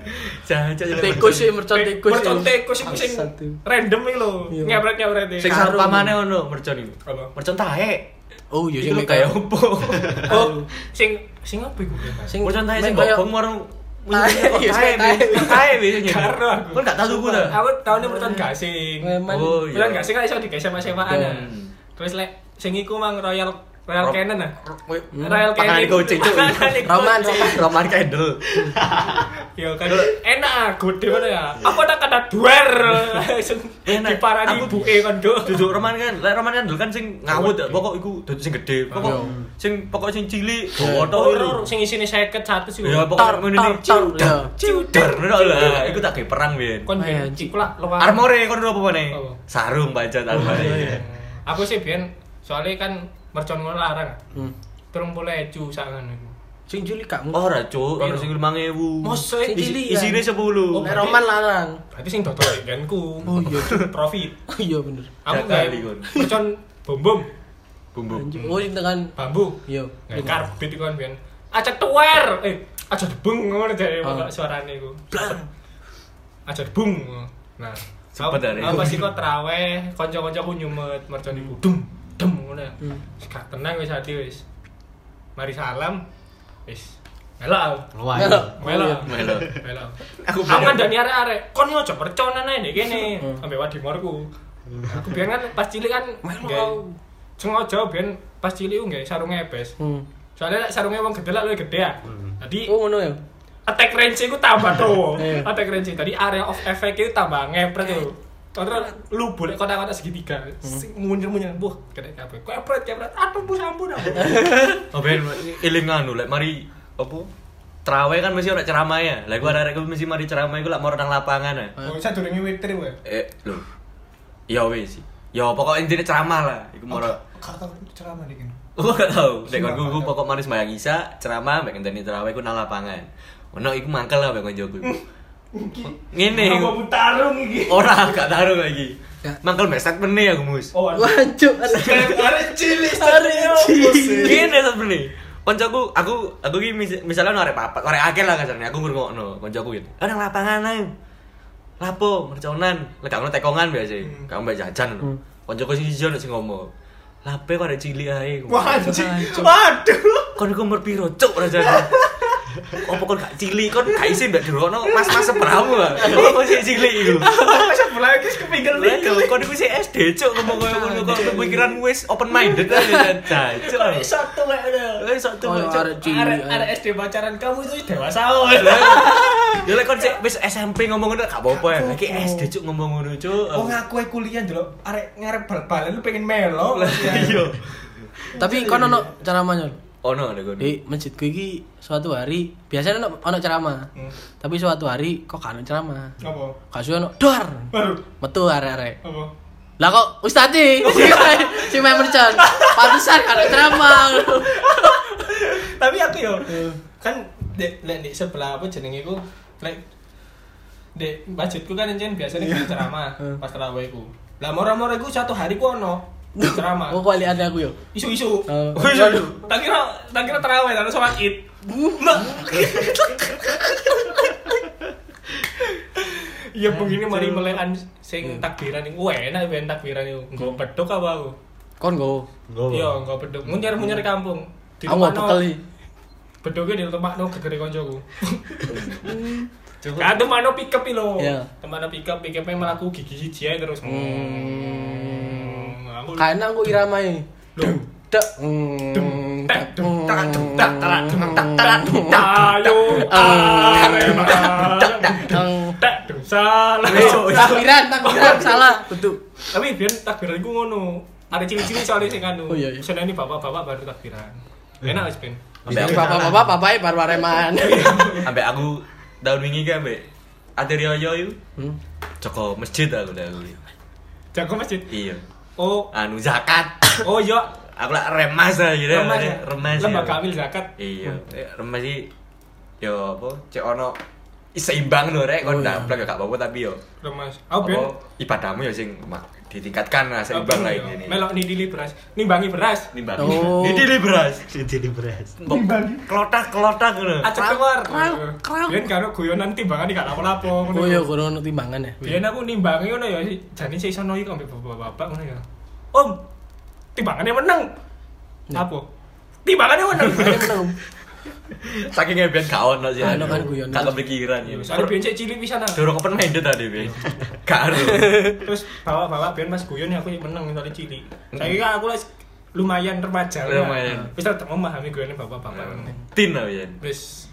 S4: Jajan
S2: Tikus sih mercon tikus.
S1: Mercon
S2: ya.
S1: tikus iku sing
S2: Asat, tuh.
S1: random iki lho.
S2: Iya.
S1: Ngepret ngepret.
S4: Sing
S2: Sarung.
S4: sampamane ono mercon iku.
S1: Apa?
S4: Mercon tahe.
S2: Oh iya
S4: Iku
S2: sing
S4: lho kaya
S2: kayak
S4: opo?
S1: Oh, sing sing apa iku?
S2: sing
S4: Mercon tahe sing
S2: main kayak-
S4: gobong marung
S2: Tahe, iya,
S4: tahe,
S2: tahe.
S4: tahe, tahe biasanya.
S1: Karo aku.
S4: Kon gak tau tuku ta?
S1: Aku tahunnya mercon gasing.
S2: Preman.
S4: Oh iya.
S1: Mercon gasing kan iso digesek sewa-sewaan. ya.
S4: Hmm.
S1: Terus lek sing iku mang Royal Royal
S4: Ro-
S1: Canin ah.
S4: Hmm.
S1: Royal
S4: Panganan
S1: Canin.
S4: Gojek, Cuk.
S1: Panganan Gojek.
S2: Roman,
S4: Roman Candle.
S1: Ya kan enak ah, gede mana ya. Apa tak kada duer. Langsung
S4: Enak.
S1: Diparani
S4: Aku-
S1: ibuke kon do.
S4: Duduk Roman kan, lek Roman Candle kan sing ngawut ya, pokok iku duduk sing gede,
S2: Iya.
S4: pokok sing pokok sing cilik,
S1: Horor
S4: boto.
S1: sing isine 50 100 iku.
S4: Ya
S2: Tor,
S4: pokok ngene
S2: tor,
S4: iki.
S2: tor, ya.
S4: Ciudar, lah, iku tak gawe perang biyen.
S1: Kon
S2: Ayo,
S1: ben iku lah luar.
S4: Armore kon apa meneh?
S1: Apa?
S4: Sarung panjat armore.
S1: Aku sih ben soalnya kan mercon ngono larang.
S2: Hmm.
S1: Terung boleh cu sangan iku.
S2: Sing juli gak mung.
S4: Oh, Ora, Cuk, ono sing 5000.
S1: Iya. Mosok
S2: Sing cilik ya.
S4: Isine 10.
S1: Oh,
S2: Nek Roman larang. (laughs)
S1: berarti sing dodol ikanku.
S2: Oh, iya.
S1: profit.
S2: Oh iya bener.
S1: Aku
S4: Gak
S1: gawe
S4: kali, Gun.
S1: mercon bom bom.
S4: Bumbu.
S2: Anjing. Oh, itu kan
S1: bambu
S2: yo.
S1: Nah, karbit itu kan biyen. Aja tuwer. Eh, aja debung ngono dari
S2: Ah.
S1: pokok suarane iku. Aja debung. Nah,
S4: Cepet dari.
S1: Aku pasti kok traweh, kanca-kancaku nyumet mercon iku dum dum ngono. ya. Wis gak tenang wis ati wis. Mari salam. Wis. Melal.
S5: Luwai.
S2: Melok.
S1: Melal. (laughs)
S4: Melo.
S1: Melal.
S5: Aku
S1: Aku
S5: bener.
S1: ngandani arek-arek, kon yo aja perconan ae nek kene. Sampai wadimorku. Aku biyen kan pas cilik kan
S2: Melo.
S1: nggae- sengaja biyen pas cilik ku nggak sarung ebes.
S2: Hmm.
S1: Soalnya lek sarungnya wong gede lah lebih gede ya. Tadi
S2: Oh, ngono ya.
S1: attack range ku tambah tuh.
S2: Iya.
S1: attack range tadi area of effect itu tambah ngepret tuh. Kontrol lu boleh kotak-kotak segitiga. Sing munyer-munyer buh kena kabeh. Kepret kepret. Aduh bu sampun aku.
S4: Oh ben elingan lek mari opo? Trawe kan mesti ora ceramah ya. Lah gua arek-arek mesti mari ceramah iku lek mau nang lapangan ya.
S1: Oh, saya durungi witir gue.
S4: Eh, lho. Ya wis. Ya pokok intine ceramah lah. Iku mau
S1: Kata ceramah dikit.
S4: Gua gak tau, dek
S1: Sumpah,
S4: kon
S1: gak
S4: gue
S1: tau.
S4: pokok manis bayang isa, ceramah, mbak ngenteni terawih, gue nang lapangan Ono, iku mangkel lah mbak konjo gue Ngene,
S1: Mau mutarung iki.
S4: ora gak taruh lagi
S2: Ya.
S4: Mangkel mbak statement nih ya gue mus
S1: Oh, aduh.
S2: Wancuk.
S1: Arek cilik.
S2: Hari ini.
S4: Ngene statement nih Konco aku, aku, aku ki mis- misalnya ono arek papat, arek akeh lah kasarnya, aku ngurung no, konco aku gitu Oh, nang lapangan ayo Lapo, merconan, lekak ono tekongan biasa
S1: Hmm.
S4: Kamu mbak jajan no Konco gue sing ijo sing ngomong Lape kok ada cilik ae
S1: Wah, anjing. Waduh.
S4: kon iku umur piro cuk rasane opo kon gak cilik kon gak isin mbak dirono mas-mas seperamu ah opo kon sik cilik iku
S1: Aku sebelah iki kepinggal
S4: Lah, lho, kon iku sik SD cuk ngomong koyo ngono kon pikiran wis open minded aja Jan. cuk
S1: Satu lek ada.
S4: Wis satu
S2: Koyo
S4: cuk.
S1: Arek
S2: arek cilik.
S1: arek SD pacaran kamu itu dewasa. woy.
S4: Ya lek kon sik wis SMP ngomong ngono gak apa-apa ya. Iki SD cuk ngomong ngono cuk.
S1: Oh ngaku ae kuliah dulu, arek ngarep bal-balan lu pengen melo.
S4: Lah, Iya.
S2: Tapi kono ono ceramah Nyol?
S4: Ono ada kon.
S2: Di masjidku iki suatu hari biasanya ono ono ceramah. Tapi suatu hari kok kan ceramah.
S1: Apa?
S2: Kasih ono dor.
S1: Baru.
S2: Metu arek-arek.
S1: Apa?
S2: Lah kok
S4: (laughs) Oh,
S2: Ustadi?
S4: iya.
S2: Si Mai Mercon. Pantesan ada ceramah.
S1: Tapi aku yo kan dek lek di sebelah apa jenenge ku lek dek masjidku kan encen biasanya kan ceramah pas tarawih ku. Lah mora-mora iku satu hari ku (laughs) ono
S2: Oh,
S1: ceramah.
S2: kuali ada aku yo.
S1: Isu-isu.
S2: Oh.
S1: Oh, isu. Tak kira tak kira tarawih tak kira sholat Id. Iya begini mari melekan sing
S2: Iya.
S1: takbiran iku Wah, enak ben takbiran iku.
S2: Hmm.
S1: Engko pedhok apa aku?
S2: Kon go.
S1: Iya, engko pedhok. Munyer-munyer kampung.
S2: Aku mau
S1: Ditempatno-
S2: pekel iki.
S1: Bedoknya di tempat no gegere koncoku. Kan tempat no pick up iki lho.
S2: Iya.
S1: Tempat no pick up, pick up melaku gigi siji ae terus. Hmm. Aku
S2: Kayaknya aku iramae.
S1: Lho.
S2: Dek. mm,
S1: tak
S2: Eh,
S1: dung, tak dung, tak tak dung, tak tak dung, tak hmm, ayo
S2: Eh,
S1: Arema. tak tak dung, salah.
S2: Eh,
S4: Oh, iya.
S2: Takbiran, takbiran salah. Betul.
S1: Tapi biar takbiran iku ngono. Ada ciri-ciri soalnya sing anu.
S2: Oh, iya, iya.
S1: Soalnya ini bapak-bapak baru takbiran. Enak wis ben.
S2: Ambek bapak-bapak, bapaknya barbareman.
S4: Oh, iya. Ambek aku tahun wingi ki ambek Ate Rioyo iku.
S2: Hmm?
S4: Joko masjid aku dah aku.
S1: Jago masjid.
S4: Iya.
S1: Oh,
S4: Anu zakat.
S1: oh iya.
S4: aku lah remas lah gitu
S1: Remas ya?
S4: remas ya.
S1: Lembaga amil zakat.
S4: iya Eh, remas sih yo apa cek ono seimbang lho rek kon ndablek ya gak apa-apa tapi yo
S1: Remas. Aku ben
S4: apa, ibadahmu ya sing mak- ditingkatkan lah seimbang lah ini
S1: Oh, iya. Melok nidili beras, nimbangi beras.
S4: nimbang
S2: Oh.
S4: (laughs) ini di beras
S5: Jadi beras.
S4: kelotak kelotak ngono
S1: Acak keluar.
S2: krau, krau.
S1: Biyen karo guyonan timbangan iki gak lapo-lapo ngono.
S2: Oh iya, kurang ono timbangan ya.
S1: Biyen aku nimbangi ngono ya jane sik iso noyi kok ambek bapak-bapak ngono ya. Om, timbangane meneng. Apa? Timbangane meneng.
S2: Belum.
S4: saking ngebian gak ono sih
S2: Ah,
S4: anu.
S2: ono kan guyonan.
S4: gak kepikiran
S1: (laughs)
S4: ya
S1: Soale biyen sik cilik pisan
S4: (laughs)
S1: ah.
S4: dorong open minded tadi be (laughs) gak ada
S1: Terus bawa-bawa biyen Mas guyon aku sik meneng soalé cilik. Saiki kan aku wis lumayan remaja. lah.
S4: Lumayan.
S1: Wis tetep memahami guyone bapak-bapak.
S4: tin lah ya
S1: Wis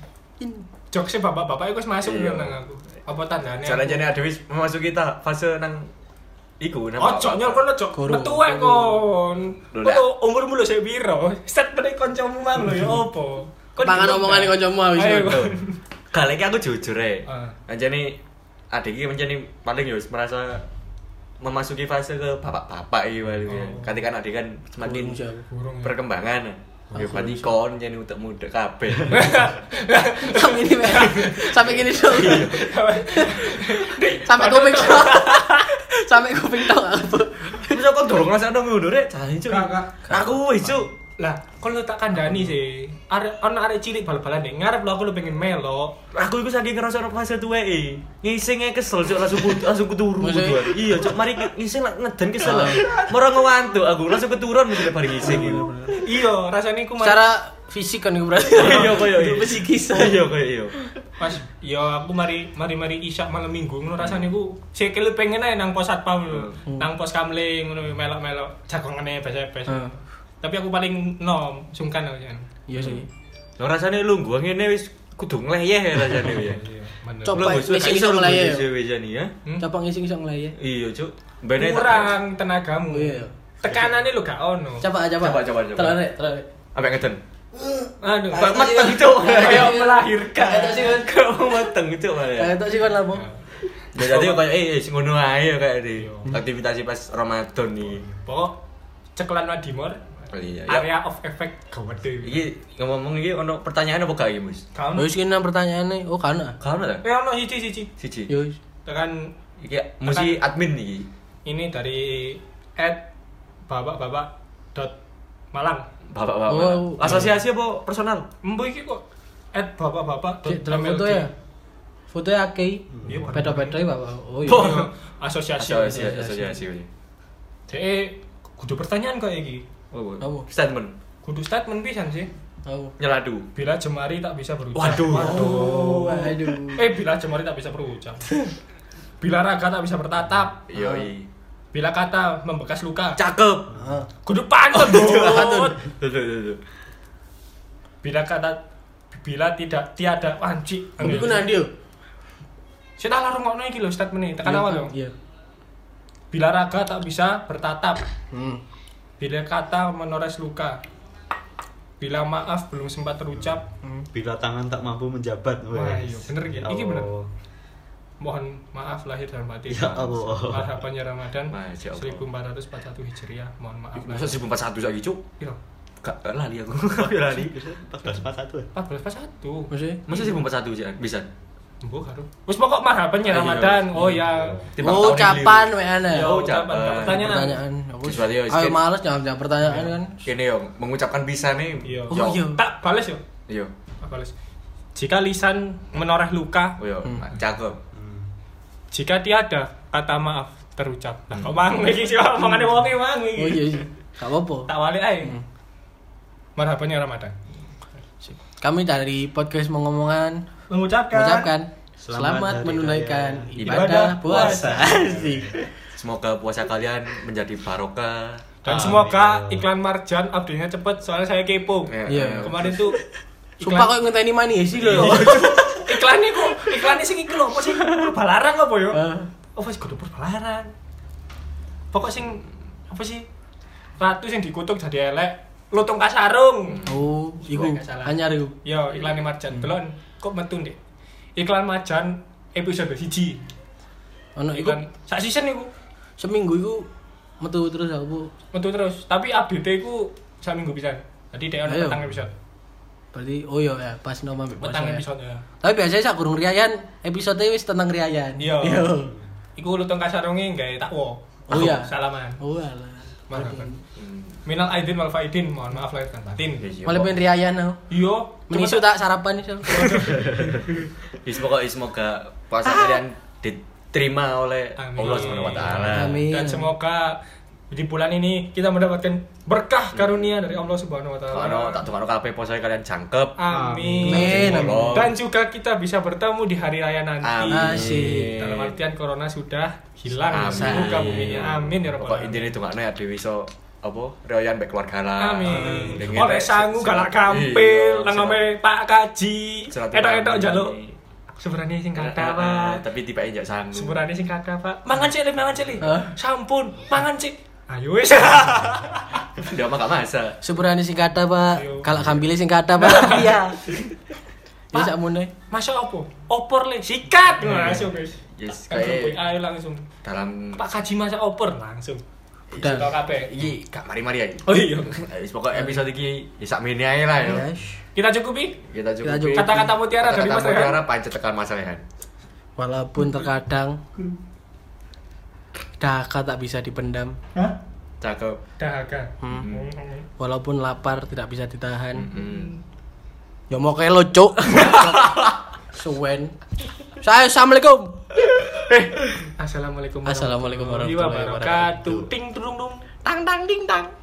S1: jokesnya bapak-bapak itu masuk
S4: Iya.
S1: iya. nang aku. Apa tandanya?
S4: cara jane ada wis memasuki ta- fase nang iku nang
S1: Ojo nyol kono cok.
S2: Guru.
S1: Metu wae kon.
S4: Lho,
S1: Kok umurmu lho sik piro? Set meneh kancamu mang lho ya opo?
S2: Pangan omongan kancamu habis.
S1: Ayo,
S2: itu.
S1: kon. (laughs)
S4: Kali ini aku jujur ya.
S1: Ah.
S4: Anjani adik iki menjani paling ya wis merasa memasuki fase ke bapak-bapak iki paling ya.
S1: Oh.
S4: Ketika adik kan semakin
S2: Burung siapa?
S1: Burung ya.
S4: perkembangan. Ya berarti kon jadi untuk muda
S1: (laughs)
S4: kabeh.
S2: Sampai ini,
S4: Iya.
S2: Pak. sampai gini dong. Sampai komik. sampai kuping tok aku.
S4: Terus aku dorong rasa nang ngundure jahe eh? cuk.
S1: Kak, kak.
S4: Aku wis cuk.
S1: Lah, kalau tak kandani sih. Arek ana arek cilik bal-balan nih, ngarep lo aku lu pengen melok.
S4: Aku iku saking ngerasa ora fase tuweke. Ngisenge kesel cuk langsung kudu langsung kuturu
S2: Maksudnya?
S4: kudu. Iya cuk mari ki- ngising lah, ngeden kesel lah. Moro ngewantu aku langsung keturun mesti bari ngising iku.
S1: Iya, rasanya aku mari
S2: Secara fisik kan iku berarti.
S4: Iya koyo iya.
S2: Psikis.
S4: Iya koyo iya.
S1: pas yo aku mari mari mari isak malam minggu ngono rasanya aku sikil pengen aja nang pos satpam lho.
S2: Hmm.
S1: Nang pos kamling ngono melok-melok jagongane bes-bes.
S2: Hmm.
S1: Tapi aku paling nom, sungkan aku jan.
S2: Iya sih.
S4: Lah rasane lungguh ngene wis kudu ngleyeh rasane ya.
S1: Bener.
S2: Cok. Coba,
S4: Lungguh, cuk,
S2: wis
S4: gak
S2: iso
S4: iso
S2: ngleyeh.
S4: ngleyeh dhewe jane ya.
S1: Hmm?
S2: Coba ngising iso ngelayah.
S4: Iya cuk. Bene tak.
S1: Kurang tenagamu.
S2: Iya.
S1: Tekanannya lu gak ono.
S2: Coba coba.
S4: Coba, coba, coba.
S2: Telerek, telerek.
S4: Ambek ngeden.
S1: Aduh,
S4: Kok meteng cuk.
S1: kayak melahirkan.
S2: Kayak tak sih kan.
S4: Kok meteng cuk malah.
S2: Kayak tak sih kan lapo.
S4: Ya jadi kayak eh eh, sing ngono ae ya kayak di aktivitas pas Ramadan iki.
S1: Pokok cekelan Wadimor.
S4: Iya. Ya,
S1: Area of effect gawede.
S4: iki ngomong iki ono pertanyaan apa gak iki, Mas?
S1: Kamu.
S2: Yo wis kene pertanyaane. Oh, kan. ah?
S4: Gak ono ta?
S1: Eh ono siji siji.
S4: Siji.
S2: Yo wis.
S1: Tekan
S4: Iki mesti admin iki.
S1: ini dari at bapak-bapak dot malang.
S2: Oh.
S4: Bapak-bapak. Asosiasi apa personal?
S1: Embo iki kok at bapak-bapak dot
S2: Cek, dalam
S1: MLD.
S2: foto ya. Fotonya akeh.
S1: Iya,
S2: Beda-beda ya, Bapak. Oh iya.
S1: Iya, (laughs) Asosiasi.
S4: Asosiasi iya. asosiasi.
S1: Dek kudu pertanyaan kok iki.
S4: Oh,
S2: Apa?
S4: oh. Statement.
S1: Kudu statement pisan sih.
S2: Tahu.
S4: Nyeladu.
S1: Bila jemari tak bisa berucap.
S4: Waduh.
S2: Oh, aduh.
S1: Eh bila jemari tak bisa berucap. Bila raga tak bisa bertatap.
S4: Yo i.
S1: Bila kata membekas luka.
S4: Cakep.
S1: Kudu pantun.
S4: Tuh,
S1: Bud.
S4: Tuh tuh tuh. tuh.
S1: Bila kata bila tidak tiada wanci.
S2: Tapi ku nandi yo.
S1: Sudah lah rungokno iki lho statement ini. Tekan awal dong.
S2: Iya.
S1: Bila raga tak bisa bertatap.
S2: Hmm.
S1: Bila kata menores luka. Bila maaf belum sempat terucap.
S5: Bila tangan tak mampu menjabat.
S1: Wah,
S5: wes.
S1: iya, bener ya. Iki bener. Mohon maaf lahir dan batin.
S5: Ya Allah.
S1: Harapannya Ramadan
S4: Masya Allah.
S1: 1441 Hijriah. Mohon maaf
S4: Masa
S1: lahir.
S4: 1041 saiki, Cuk?
S1: Iya.
S4: Gak gak lali
S1: (laughs)
S4: aku. Gak lali.
S5: Pas pas pas satu.
S1: 1441.
S2: Masih.
S4: Masa 1041 sih bisa.
S1: Mbok karo. Wis pokok harapannya
S4: Ayo.
S1: Ramadan. Oh ya.
S4: Timbang
S2: Oh,
S4: tahun ini.
S2: kapan weane?
S1: Ya ucapan
S4: Yo, ucapan.
S1: pertanyaan.
S2: Pertanyaan. Aku
S4: Sesuatu yo,
S2: Ayo
S4: skin.
S2: males jawab jawab pertanyaan
S4: (laughs)
S2: kan.
S4: Kene yo mengucapkan bisa nih.
S1: Iya.
S2: Oh, iya.
S1: Tak bales yo.
S4: Yo.
S1: Tak bales. Jika lisan menoreh luka,
S4: Oh yo.
S2: Hmm.
S4: Cakep.
S1: jika tiada kata maaf terucap. Lah kok mang iki sih omongane wong iki mang iki.
S2: Oh iya. Hmm. iya. Gak apa-apa.
S1: Tak walik ae. Marhabannya Ramadan.
S2: Kami dari podcast mengomongan
S1: Mengucapkan.
S2: mengucapkan
S5: Selamat
S2: selamat
S5: hari
S2: menunaikan
S5: raya.
S2: ibadah
S1: Ibadah
S2: puasa. Asik.
S4: Semoga puasa kalian menjadi barokah.
S1: Dan
S5: Amin.
S1: semoga iklan Marjan update-nya cepet soalnya saya kepo.
S2: Iya.
S4: eh,
S1: Kemarin tuh
S2: (laughs) Sumpah kok ngenteni manis sih lho.
S1: iklannya kok iklannya sing iki lho apa sih perbalarang apa yo?
S2: Eh.
S1: apa sih Oh, kudu perbalarang pokok sing apa sih ratu sing dikutuk jadi elek lutung kasarung
S2: (laughs) Oh, iku
S1: Gak salah.
S2: anyar iku.
S1: yo iklannya marjan
S2: Hmm.
S1: belon kok metu deh iklan marjan episode hiji
S2: Ono Nah, iku
S1: iklan sak season iku
S2: seminggu iku metu terus aku
S1: metu terus tapi update iku sak minggu pisan jadi dia ono
S2: Ayo.
S1: petang episode
S2: berarti oh iya ya pas noma
S1: petang episode ya
S2: Tapi biasanya sak gurung riayan, episode wis tentang riayan.
S1: Iya. iku lutung kasarunge gawe takwa
S2: Oh, iya.
S1: salaman
S2: Oh alah.
S1: marhaban minal aidin wal faidin mohon maaf lahir dan batin Iya.
S4: iya,
S2: Malah pengen riayan aku.
S1: yo
S2: Menisu
S1: cepet-
S2: tak sarapan iso.
S4: Ya, semoga semoga
S2: Ah.
S4: puasa kalian diterima oleh
S1: Amin. Iya.
S4: Allah Subhanahu wa taala.
S2: Amin.
S1: dan semoga di bulan ini kita mendapatkan berkah karunia dari Allah Subhanahu wa taala.
S4: Tukano tak tukano kabeh puasa kalian jangkep.
S1: Amin.
S2: Amin.
S4: Amin.
S1: Dan juga kita bisa bertemu di hari raya nanti.
S2: Asik.
S1: Dalam artian corona sudah hilang
S4: Amin.
S1: semoga buminya. Amin ya
S4: Pokok
S1: rabbal alamin.
S4: intine dongakno ya dhewe iso apa royan baik keluarga lah.
S1: Amin.
S4: Dengan
S1: Oleh
S4: rek-
S1: sangu galak kampil,
S4: Iya,
S1: nangome Pak Kaji.
S4: surat- surat
S1: Etok-etok
S4: utang.
S1: jaluk. Sebenarnya sing
S4: Ah,
S1: kakak,
S4: ah,
S1: Pak.
S4: Tapi tiba njak sangu.
S1: Sebenarnya sing kakak, Pak. Mangan cilik, mangan cilik.
S2: Hah?
S1: Sampun, mangan cilik. Ayo
S4: (laughs)
S1: wis.
S4: Dia mah Ya, gak masak.
S2: Sepurane sing kata, Pak.
S1: Ayo.
S2: Kalau kambile sing kata, Pak. Iya. Ya sak mune.
S1: Masuk apa? Opor le, sikat langsung guys.
S4: Yes,
S1: Kan grup WA
S4: kayak-
S1: langsung.
S4: Dalam
S1: Pak Kaji masak opor langsung.
S2: Hmm. Udah.
S1: Sudah kabeh.
S4: iki gak mari-mari aja.
S1: Oh iya.
S4: Wis pokok episode iki ya sak mene ae lah ya.
S2: Yes.
S1: Kita cukupi.
S4: Kita
S2: cukupi.
S4: cukup
S1: Kata-kata mutiara dari Mas
S4: Kata-kata
S1: Rehan.
S4: mutiara pancet tekan Mas Rehan.
S2: Walaupun terkadang Dahaga tak bisa dipendam
S1: Hah?
S4: Cakep.
S1: Dahaga.
S2: Hmm.
S1: Hmm.
S2: Walaupun lapar tidak bisa ditahan
S4: Hmm.
S2: Ya mau kayak lo cuk Suwen Saya Assalamualaikum
S1: Assalamualaikum
S2: Assalamualaikum warahmatullahi
S1: wabarakatuh. Ting dung dung.
S2: Tang tang ding tang